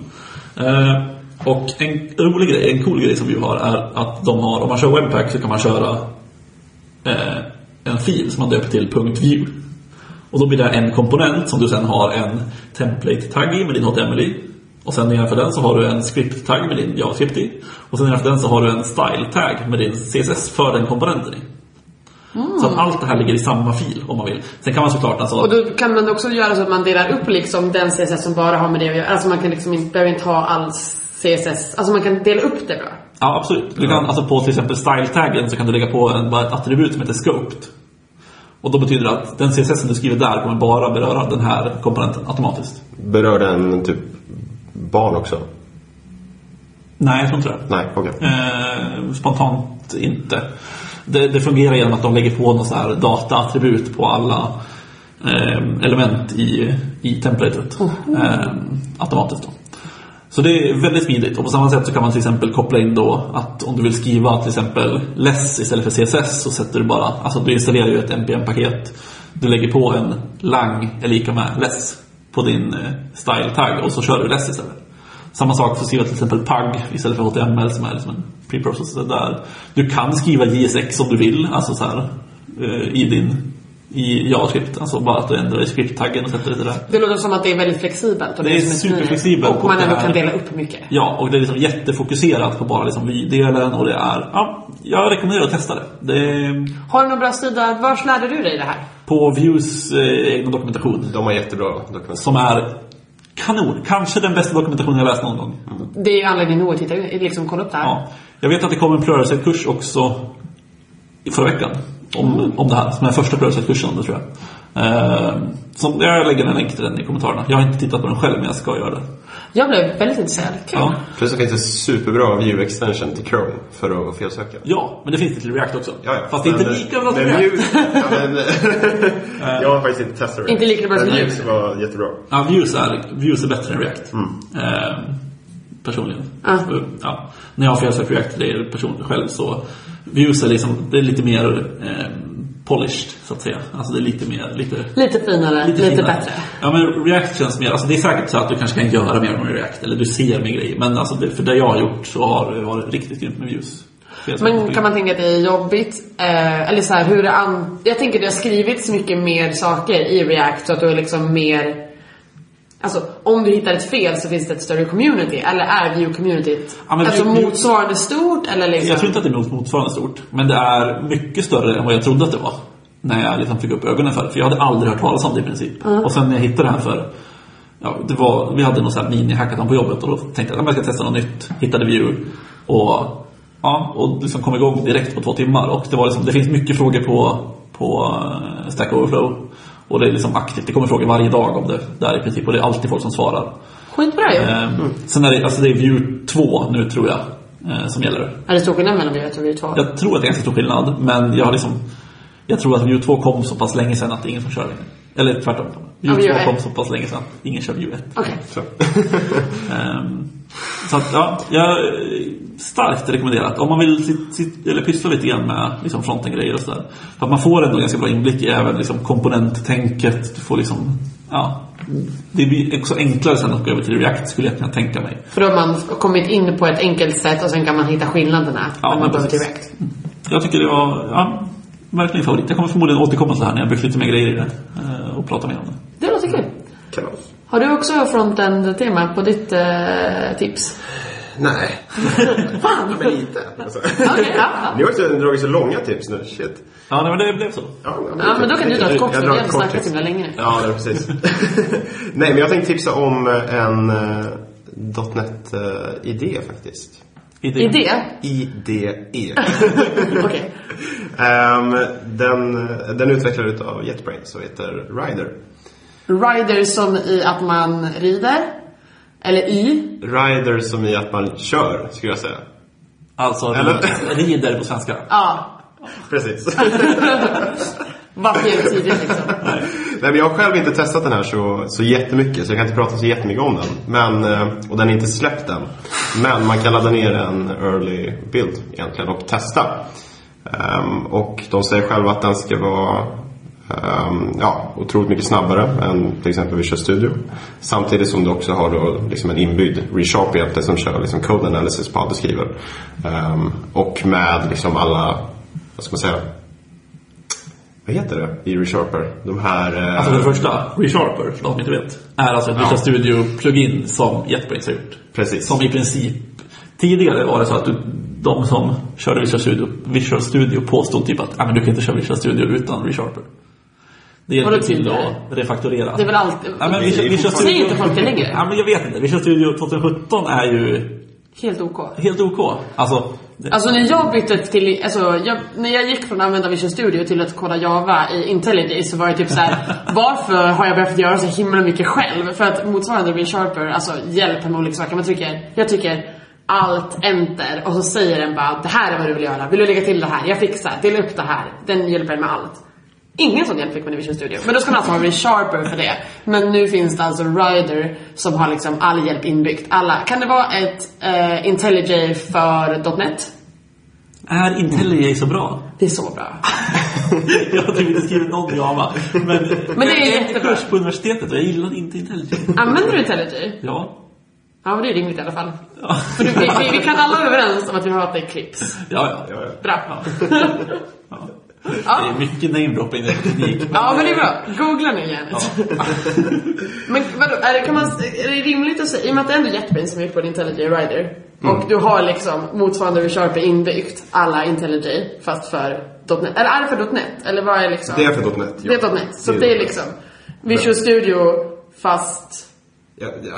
S3: Eh, och en rolig grej, en cool grej som vi har är att de har, om man kör Webpack så kan man köra eh, en fil som man döper till .view. Och då blir det en komponent som du sen har en template-tagg i med din HTML i. Och sen nedanför den så har du en script-tagg med din JavaScript i. Och sen nedanför den så har du en style-tagg med din CSS för den komponenten i. Så att allt det här ligger i samma fil om man vill. Sen kan man såklart alltså...
S1: Och då kan man också göra så att man delar upp liksom den CSS som bara har med det att göra. Alltså man kan liksom inte, behöver inte ha all CSS. Alltså man kan dela upp det bra.
S3: Ja, absolut. Du kan, alltså på till exempel style-taggen så kan du lägga på en, bara ett attribut som heter scoped. Och då betyder det att den CSS du skriver där kommer bara beröra den här komponenten automatiskt.
S2: Berör den typ barn också?
S3: Nej, jag tror inte det.
S2: Nej, okej.
S3: Eh, spontant inte. Det, det fungerar genom att de lägger på någon så här dataattribut på alla eh, element i, i templatet. Eh, automatiskt då. Så det är väldigt smidigt och på samma sätt så kan man till exempel koppla in då att om du vill skriva till exempel less istället för CSS så sätter du bara, alltså du installerar ju ett NPM-paket. Du lägger på en lang är lika med less på din eh, style-tagg och så kör du less istället. Samma sak för att skriva till exempel PUG istället för HTML som är liksom en preprocessor där. Du kan skriva JSX om du vill, alltså så här, eh, i din i JavaScript. Alltså bara att du ändrar i skripttaggen och sätter lite där.
S1: Det låter som att det är väldigt flexibelt. Och
S3: Det är
S1: som ett fint.
S3: superflexibelt
S1: Och
S3: på
S1: man
S3: det
S1: ändå
S3: här.
S1: kan dela upp mycket.
S3: Ja, och det är liksom jättefokuserat på bara liksom vy-delen och det är... Ja, jag rekommenderar att testa det. det är
S1: Har du någon bra sida? Var lärde du dig det här?
S3: på Views eh, egna dokumentation
S2: De har jättebra dokument.
S3: som är kanon. Kanske den bästa dokumentationen jag läst någon gång.
S1: Det är ju anledning nog att titta, liksom kolla upp det här.
S3: Ja. Jag vet att det kom en prörelsekurs också i förra veckan. Om,
S1: Mm.
S3: om det här, som är första prörelsekursen om det tror jag. Ehm, som, jag lägger en länk till den i kommentarerna. Jag har inte tittat på den själv men jag ska göra det.
S1: Jag blev väldigt intresserad. Kul.
S3: Ja,
S2: Plus så finns det superbra view extension till Chrome för att felsöka.
S3: ja men det finns det till React också.
S2: Ja, ja.
S3: Fast det är inte
S2: Men,
S3: lika bra som
S2: men
S3: React.
S2: Vue- ja, men, eh, Jag har faktiskt inte testat det.
S1: Inte lika bra som
S2: Men
S1: Vue.
S2: Vue var jättebra.
S3: Ja, views, är, views är bättre än React. Ehm, personligen.
S1: Mm. Ja.
S3: Så, ja. När jag har felsökt React-grejer personligen själv så Views är, liksom, det är lite mer ehm, polished så att säga. Alltså det är lite mer, lite
S1: Lite finare, lite,
S3: finare.
S1: bättre.
S3: Ja, men React känns mer... Alltså det är säkert så att du kanske kan göra mer med React, eller du ser mer grejer. Men alltså det, för det jag har gjort så har det varit riktigt grymt med views. Fel sak.
S1: Men kan man tänka att det är jobbigt? Eh, eller så här, hur det an- Jag tänker att det har skrivits mycket mer saker i React så att du är liksom mer... Alltså om du hittar ett fel så finns det ett större community. Eller är Vue-communityt
S3: Ja, men
S1: alltså,
S3: Vue- Vue-
S1: motsvarande stort? Eller liksom...
S3: Jag tror inte att det är mot- motsvarande stort, men det är mycket större än vad jag trodde att det var. när jag liksom fick upp ögonen för det. För jag hade aldrig hört talas om det i princip. Och sen när jag hittade det här för Ja, det var, vi hade någon sån här mini-hackathon på jobbet och då tänkte jag att jag ska testa något nytt. Hittade Vue och, ja, och liksom kom igång direkt på två timmar. Och det, var liksom, det finns mycket frågor på, på eh, Stack Overflow. Och det är liksom aktivt, det kommer frågor varje dag om det där i princip. Och det är alltid folk som svarar.
S1: Skitbra ju.
S3: Eh, Sen är det, alltså det är Vue 2 nu tror jag eh, som gäller.
S1: Är det stor skillnad mellan Vue 1 och Vue 2?
S3: Jag tror att det är ganska stor skillnad men jag har liksom Jag tror att Vue 2 kom så pass länge sedan att det är ingen som kör längre. Eller tvärtom.
S1: Ja, Vue
S3: Vue 2
S1: ett.
S3: kom så pass länge sedan att ingen kör Vue 1.
S1: Okej.
S2: Så.
S3: Ehm, Så att, ja, jag starkt rekommenderat. Om man vill sit, sit, eller pyssla lite grann med liksom fronten-grejer och sådär. För att man får ändå ganska bra inblick i även liksom komponenttänket. Du får liksom, ja. Det blir också enklare sen att gå över till React skulle jag kunna tänka mig.
S1: För då har man kommit in på ett enkelt sätt och sen kan man hitta skillnaderna när
S3: Ja,
S1: man
S3: men
S1: går över till
S3: precis.
S1: direkt.
S3: Jag tycker det var ja, verkligen favorit. Jag kommer förmodligen återkomma till det här när jag byggt lite mer grejer i det eh, och prata mer om det.
S1: Det låter kul.
S2: Kalas.
S1: Har du också frontend-tema på ditt eh, tips?
S2: Nej.
S1: Fan!
S2: Ja, men lite. Alltså.
S1: Okej, ja.
S2: Ni har ju dragit så långa tips nu. Shit.
S3: Ja, nej, men det blev så.
S2: Ja,
S1: Ja, men då kan du dra ett kort,
S2: Jag
S1: för
S2: drar
S1: vi
S2: ett
S1: har
S2: kort
S1: snackat
S2: tips.
S1: så himla länge nu.
S2: Ja, det är precis. Nej, men jag tänkte tipsa om en eh, .NET-idé faktiskt. E.
S3: Idé.
S1: Idé?
S2: IDE.
S1: Okej.
S2: Ehm, den, den utvecklades av JetBrains och heter Rider.
S1: Rider som i att man rider. Eller i.
S2: Rider som i att man kör, skulle jag säga.
S3: Alltså,
S2: Eller-
S3: rider på svenska.
S1: Ja.
S2: Precis.
S1: Varför är det tidigt liksom?
S2: Nej, men jag har själv inte testat den här så, så jättemycket, så jag kan inte prata så jättemycket om den. Men, eh, och den är inte släppt än. Men man kan ladda ner en early build egentligen och testa. Ehm, och de säger själva att den ska vara ehm, ja, otroligt mycket snabbare än till exempel Visual Studio. Samtidigt som du också har då liksom en inbyggd resharp hjälte som kör liksom code analysis på allt du skriver. Ehm, och med liksom alla, vad ska man säga, vad heter det i ReSharper? De här... eh,
S3: Alltså för det första, ReSharper, för de som inte vet, är alltså ett Visual Studio-plugin som JetBrains har gjort.
S2: Precis.
S3: Som i princip, tidigare var det så att du, de som körde Visual Studio, Visual Studio påstod typ att "Ah, men du kan inte köra Visual Studio utan ReSharper. Det hjälper
S1: Vadå
S3: till
S1: tidigare?
S3: att refaktorera.
S1: Det är väl alltid...
S3: Nej, men
S2: Det är
S3: Visual, Visual
S2: fortfarande-
S3: Studio...
S1: Säger inte folk det längre?
S3: Ja, men jag vet inte. Visual Studio 2017 är ju
S1: Helt OK.
S3: helt OK. Alltså, det,
S1: Alltså när jag bytte till, alltså jag, när jag gick från att använda Visual Studio till att koda Java i IntelliJ så var det typ så här: varför har jag behövt göra så himla mycket själv? För att motsvarande ReSharper, alltså hjälp med olika saker. Man trycker, jag trycker allt enter och så säger den bara det här är vad du vill göra, vill du lägga till det här, jag fixar, dela upp det här, den hjälper med allt. Ingen sån hjälp fick man i Visual Studio. Men då ska man alltså ha ReSharper för det. Men nu finns det alltså Rider som har liksom all hjälp inbyggt. Alla. Kan det vara ett eh, IntelliJ för .NET?
S3: är IntelliJ så bra?
S1: Det är så bra.
S3: jag har typ inte skrivit någon Java. Men, men
S1: Men det är
S3: jag gick
S1: jättebra.
S3: kurs på universitetet och jag gillade inte IntelliJ.
S1: Använder du IntelliJ?
S3: Ja.
S1: Ja, men det är rimligt i alla fall.
S3: Ja.
S1: För du, vi, vi, vi kan alla vara överens om att vi hatar Eclipse.
S3: Ja, ja.
S2: Ja, ja.
S1: Bra.
S3: ja. Det
S1: Ja.
S3: är mycket namedropping i teknik.
S1: ja, men det är bra. Googla nu gärna. Men vadå, är det, kan man, är det rimligt att säga, i och med att det är ändå JetBrain som är på en IntelliJ Rider och du har liksom motsvarande ReSharper inbyggt, alla IntelliJ, fast för .NET. Eller är det för .NET? Eller vad är liksom?
S2: Det är för .NET.
S1: Det är .NET. Så det är liksom Visual Studio fast
S2: Ja, ja.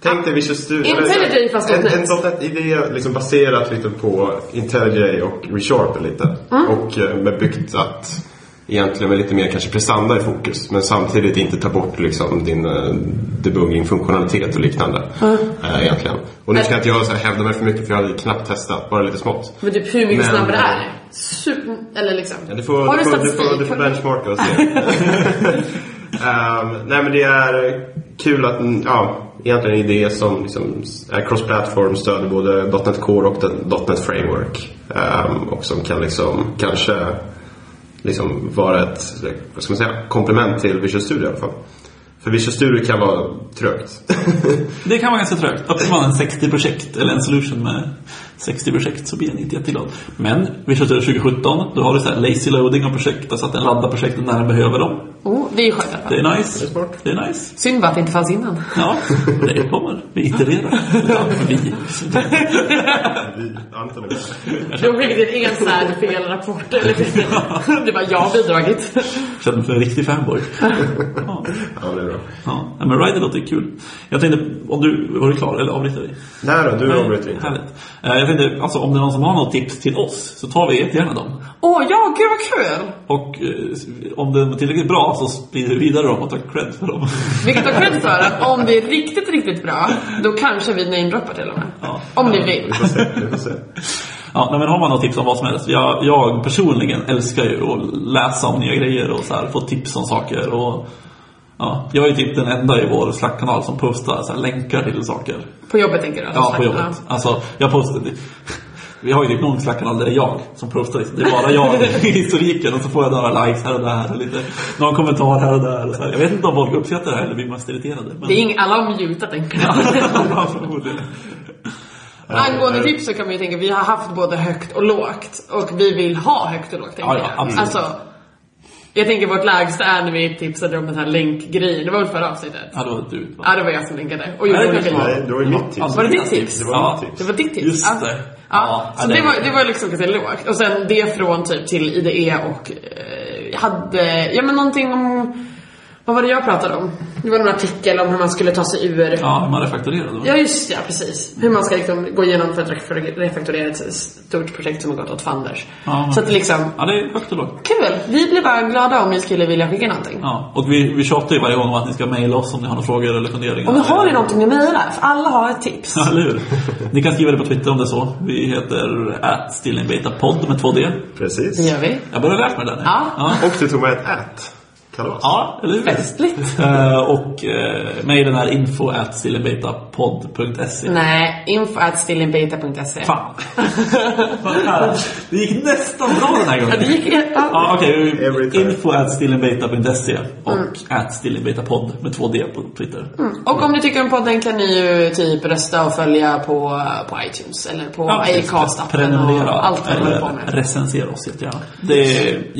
S2: Tänk dig Visual Studio.
S1: IntelliJ fast
S2: en,
S1: .NET.
S2: en .NET-idé är liksom baserat lite på IntelliJ och ReSharper lite.
S1: Mm.
S2: Och eh, med byggt att egentligen med lite mer kanske prestanda i fokus. Men samtidigt inte ta bort liksom din eh, debugging-funktionalitet och liknande.
S1: Mm.
S2: eh, Egentligen. Och nu ska inte jag så här hävda mig för mycket för jag hade knappt testat, bara lite smått.
S1: Men typ hur mycket
S2: Men-
S1: snabbare är det? Super, eller liksom.
S2: Ja, du får,
S1: har
S2: du
S1: du
S2: får, du
S1: statistik?
S2: får, du får
S1: Har du-
S2: benchmarka och se. Ehm, nej men det är kul att, mm, ja, egentligen en idé som liksom är cross-platform, stöder både .NET Core och den- .NET Framework. Ehm, och som kan liksom, kanske liksom vara ett, vad ska man säga, komplement till Visual Studio i alla fall. För Visual Studio kan vara trögt.
S3: Det kan vara ganska trögt. Öppnar man en 60-projekt eller en solution med 60 projekt så blir den inte jätteglad. Men vi körde 2017, då har du så här lazy loading av projekt, alltså att den laddar projekten när den behöver dem.
S1: Oh, det är ju skönt i alla fall.
S3: Det är nice.
S2: Det är smart.
S3: Det är nice.
S1: Synd bara att det inte fanns innan.
S3: Ja, det kommer. Vi itererar. Ja, vi.
S2: Vi, Anton är med.
S1: Du har skickat in en så här fel rapport. Eller fel. Det var jag har bidragit.
S3: Känner mig som en riktig fanboy. Ja,
S2: Ja, det är bra.
S3: ja. Nej, men Rider låter kul. Jag tänkte, om du, var du klar eller avbryter vi?
S2: Nej då, du avbryter
S3: Nej,
S2: inte.
S3: Härligt. Eh, Jag tänkte, alltså om det är någon som har något tips till oss så tar vi jättegärna dem.
S1: Åh ja, gud vad kul!
S3: Och eh, om det är tillräckligt bra så sprider vi vidare dem och tar cred för dem.
S1: Vi kan ta cred för att om det är riktigt, riktigt bra, då kanske vi namedroppar till och med.
S3: Ja.
S1: Om ni vill.
S2: Vi får se. Vi får se.
S3: Ja, nej, men har man något tips om vad som helst. Jag, jag personligen älskar ju att läsa om nya grejer och så här, få tips om saker. Och, ja, jag är typ den enda i vår Slack-kanal som postar så här, länkar till saker.
S1: På jobbet tänker du?
S3: Ja, på jobbet. Alltså, jag postade... Vi har ju typ någon slack-kanal där det är jag som postar. liksom. Det är bara jag i historiken och så får jag några likes här och där och lite, någon kommentar här och där. Och så här. Jag vet inte om folk uppskattar det här eller blir mest irriterade. Men...
S1: Det är ing- alla har mutat tänker jag.
S3: Ja, förmodligen.
S1: Angående tips så kan man ju tänka, vi har haft både högt och lågt. Och vi vill ha högt och lågt tänker
S3: Ja, ja,
S1: jag.
S3: absolut.
S1: Alltså, jag tänker vårt lägsta är när vi tipsade om den här länkgrejen. Det var väl förra avsnittet?
S3: ja, det var du. va?
S1: Ja, det var jag som länkade. Och gjorde
S3: Nej, det
S1: olika
S3: kanske
S1: grejer.
S2: Nej, det var ju mitt tips.
S1: Var det ditt tips?
S2: Det var mitt
S3: Ja.
S2: tips.
S1: Det var ditt tips?
S3: Just
S1: Ja.
S3: det.
S1: Ja,
S3: Ja,
S1: så
S3: det-
S1: det var, det var liksom ganska lågt. Och sen det från typ till IDE och eh, jag hade, ja men någonting om, vad var det jag pratade om? Det var någon artikel om hur man skulle ta sig ur
S3: Ja, hur man refakturerar då.
S1: Ja just ja, precis. Hur man ska liksom gå igenom för att refak- refaktorera ett stort projekt som har gått åt fanders.
S3: Ja,
S1: så att liksom,
S3: Ja, det är högt och lågt.
S1: kul! Vi blir bara glada om ni skulle vilja skicka någonting.
S3: Ja, och vi, vi tjatar ju varje gång om att ni ska mejla oss om ni har några frågor eller funderingar.
S1: Om ni har ju någonting ni mejlar, för alla har ett tips.
S3: Ja, eller hur? Ni kan skriva det på Twitter om det är så. Vi heter atstillingbetapod med två d
S1: Det
S2: Precis.
S1: gör vi.
S3: Jag börjar lära mig det där nu.
S1: Ja.
S3: ja.
S2: Och du tog med ett ät. Kalas.
S3: Ja, eller hur?
S1: Festligt.
S3: Eh, och eh, mejlen är info at sillenbetapod.se.
S1: Nej, info at stillinbeta.se.
S3: Fan! det gick nästan bra den här
S1: Ja, det
S3: gången.
S1: gick... Ja.
S3: Ja, okej.
S2: Every time.
S3: info at stillenbeta.se och
S1: Mm.
S3: at stillenbetapod med två d på Twitter.
S1: Och om ni tycker om podden kan ni ju typ rösta och följa på, på iTunes eller på
S3: Ja, precis.
S1: Acast-appen
S3: Prenumerera
S1: och allt vad ni håller på
S3: eller
S1: med.
S3: recensera oss jättegärna. Det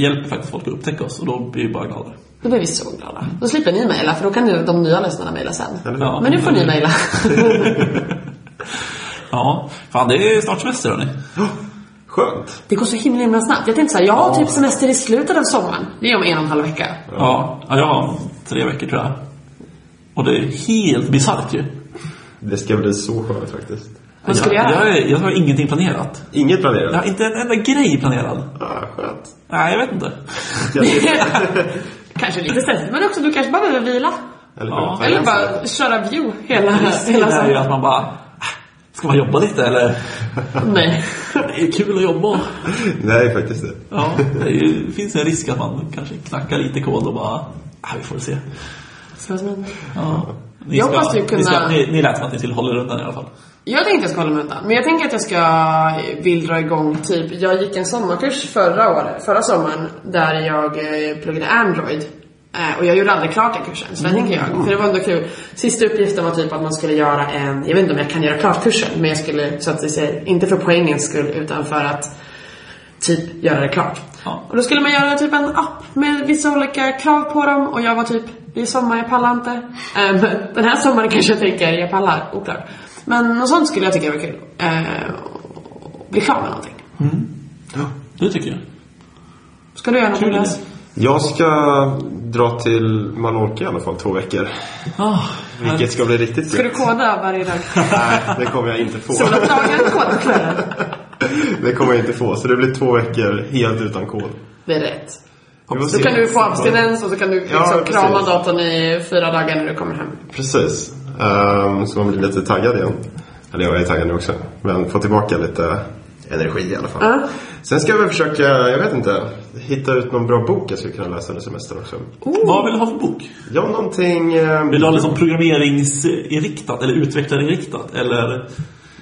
S3: hjälper faktiskt folk att upptäcka oss och då blir vi bara glada.
S1: Då blir vi så glada. Då slipper ni mejla, för då kan ju de nya lyssnarna mejla sen.
S2: Eller hur?
S3: Ja.
S1: Men nu får ni mejla.
S3: Ja, fan det är snart semester hörni.
S2: Skönt.
S1: Det går så himla himla snabbt. Jag tänkte såhär, jag har typ semester i slutet av sommaren. Det är om en och en halv vecka.
S3: Ja, ja, jag har tre veckor tror jag. Och det är helt bisarrt ju.
S2: Det ska bli så skönt faktiskt.
S1: Vad ska du
S3: jag,
S1: göra?
S3: jag, är- jag har ingenting planerat.
S2: Inget planerat?
S3: Jag har inte en enda grej planerad.
S2: Ah, skönt.
S3: Nej, jag vet inte.
S2: Jag sitter-
S1: kanske lite stressigt, men också du kanske bara behöver vila.
S2: Eller,
S3: Ja,
S2: ja,
S1: Eller bara köra view hela, hela
S3: Det är ju
S1: sommaren.
S3: att man bara... "Ah, Ska man jobba lite eller?
S1: Nej.
S3: Det är kul att jobba.
S2: Nej, faktiskt det.
S3: Ja, det är ju, finns en risk att man kanske knackar lite kod och bara... Ah, vi får se.
S1: Så vad som händer.
S3: Ja. Ni,
S1: Jag hoppas du
S3: ni, ska,
S1: kunna-
S3: ni, ni lät som att ni skulle hålla er undan i alla fall.
S1: Jag tänkte jag ska hålla mig undan, men jag tänker att jag ska vill dra igång typ, jag gick en sommarkurs förra året, förra sommaren, där jag eh, pluggade Android. Eh, och jag gjorde aldrig klart den kursen, så det tänker jag. För det var ändå kul. Sista uppgiften var typ att man skulle göra en, jag vet inte om jag kan göra klart kursen, men jag skulle, så att det säger, inte för poängens skull, utan för att typ göra det klart.
S3: Ja.
S1: Och då skulle man göra typ en app med vissa olika krav på dem och jag var typ, det är sommar, jag pallar inte. Ehm, den här sommaren kanske jag tänker, jag pallar, oklart. Men något sånt skulle jag tycka var kul. Ehm, och bli klar med någonting.
S3: Det tycker jag.
S1: Ska du göra något
S3: Kul idé.
S1: Andreas?
S2: Jag ska dra till Mallorca i alla fall två veckor.
S3: Ah,
S2: Vilket ska bli riktigt
S1: Ska du koda varje dag?
S2: Nej, det kommer jag inte få.
S1: Solavdagen, koda kvällen.
S2: Det kommer jag inte få. Så det blir två veckor helt utan kod.
S1: Det är rätt.
S2: Vi får
S1: Då
S2: se.
S1: kan du få abstinens och så kan du liksom
S2: Ja, precis.
S1: krama datorn i fyra dagar när du kommer hem.
S2: Precis. Ehm, så man blir lite taggad igen. Eller jag är taggad nu också. Men få tillbaka lite energi i alla fall.
S1: Ja.
S2: Sen ska jag väl försöka, jag vet inte, hitta ut någon bra bok jag skulle kunna läsa under semestern också.
S3: Vad vill du ha för bok?
S2: Ja, någonting... ehm,
S3: Vill du ha liksom programmeringsinriktat eller utvecklarinriktat? Eller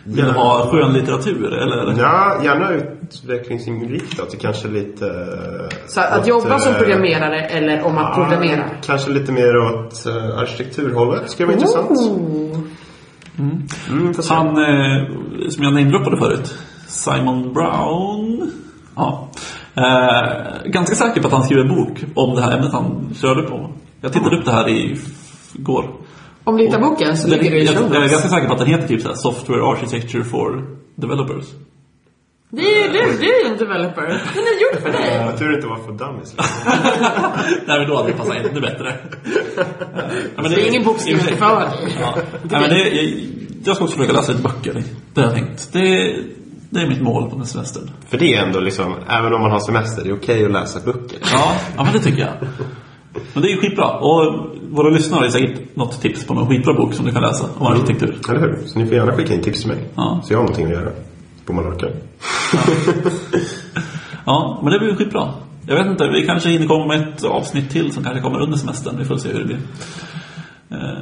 S3: vill du
S2: Ja.
S3: ha skönlitteratur? Eller?
S2: Ja, gärna utvecklingsinriktat och kanske lite... eh,
S1: Så att
S2: åt,
S1: jobba som
S2: eh,
S1: programmerare eller om
S2: Ah.
S1: att programmera.
S2: ja, Kanske lite mer åt eh, arkitekturhållet. Skulle vara intressant.
S1: Oh.
S2: Mm, får se.
S3: Han eh, som jag namedroppade förut, Simon Brown. Ja. Eh, ganska säker på att han skriver en bok om det här ämnet han körde på. Jag tittade upp det här i går.
S1: Om du hittar boken så
S3: Den,
S1: ligger det i
S3: jag,
S1: show
S3: jag är
S1: notes.
S3: ganska säker på att den heter typ så här Software Architecture for Developers.
S1: Det är ju du, du är ju en developer. Den är gjord för dig.
S2: Jag tror det inte var för dummies.
S3: Nej men då hade det passat ännu bättre. Ja, men
S1: Det är ingen bok som
S3: i och sig-
S1: är för dig.
S3: Ja. Nej, men det, jag, jag ska också försöka läsa lite böcker. Det har jag tänkt. Det, det är mitt mål på den här semestern.
S2: För det är ändå liksom, även om man har semester, det är okej att läsa böcker.
S3: Ja, ja men det tycker jag. Men det är ju skitbra. Och våra lyssnare har ju säkert något tips på någon skitbra bok som du kan läsa om arkitektur.
S2: Eller hur? Så ni får gärna skicka in tips till mig.
S3: Ja.
S2: Så jag har någonting att göra på Mallorca.
S3: Ja, men det blir ju skitbra. Jag vet inte, vi kanske hinner komma med ett avsnitt till som kanske kommer under semestern. Vi får se hur det blir.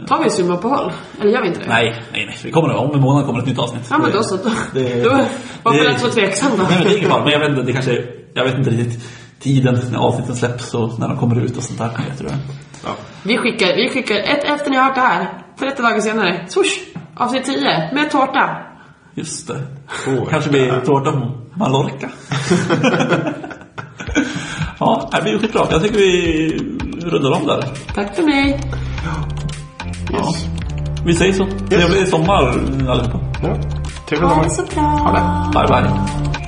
S1: Tar vi ett sommaruppehåll? Eller gör vi inte det?
S3: Nej, nej, nej. Vi kommer om en månad kommer ett nytt avsnitt.
S1: Ja men
S3: Det-
S1: då så. Då,
S3: det-
S1: då, varför
S3: det-
S1: lät du så tveksam då?
S3: Nej men det är inget fara, men jag vet inte, det kanske, jag vet inte riktigt tiden när avsnitten släpps och när de kommer ut och sånt där. Jag tror jag.
S2: Ja.
S1: Vi skickar, vi skickar ett efter ni har hört det här. 30 dagar senare. Swoosh! Avsnitt 10 med tårta.
S3: Just det.
S2: Tårta.
S3: Kanske blir tårta på Mallorca. ja, det blir ju skitbra. Jag tycker vi rundar om där.
S1: Tack för mig.
S3: Ja. Vi säger så. Trevlig sommar allihopa.
S2: Ja. Trevlig sommar.
S1: bra.
S2: Ha det.
S3: Bye bye.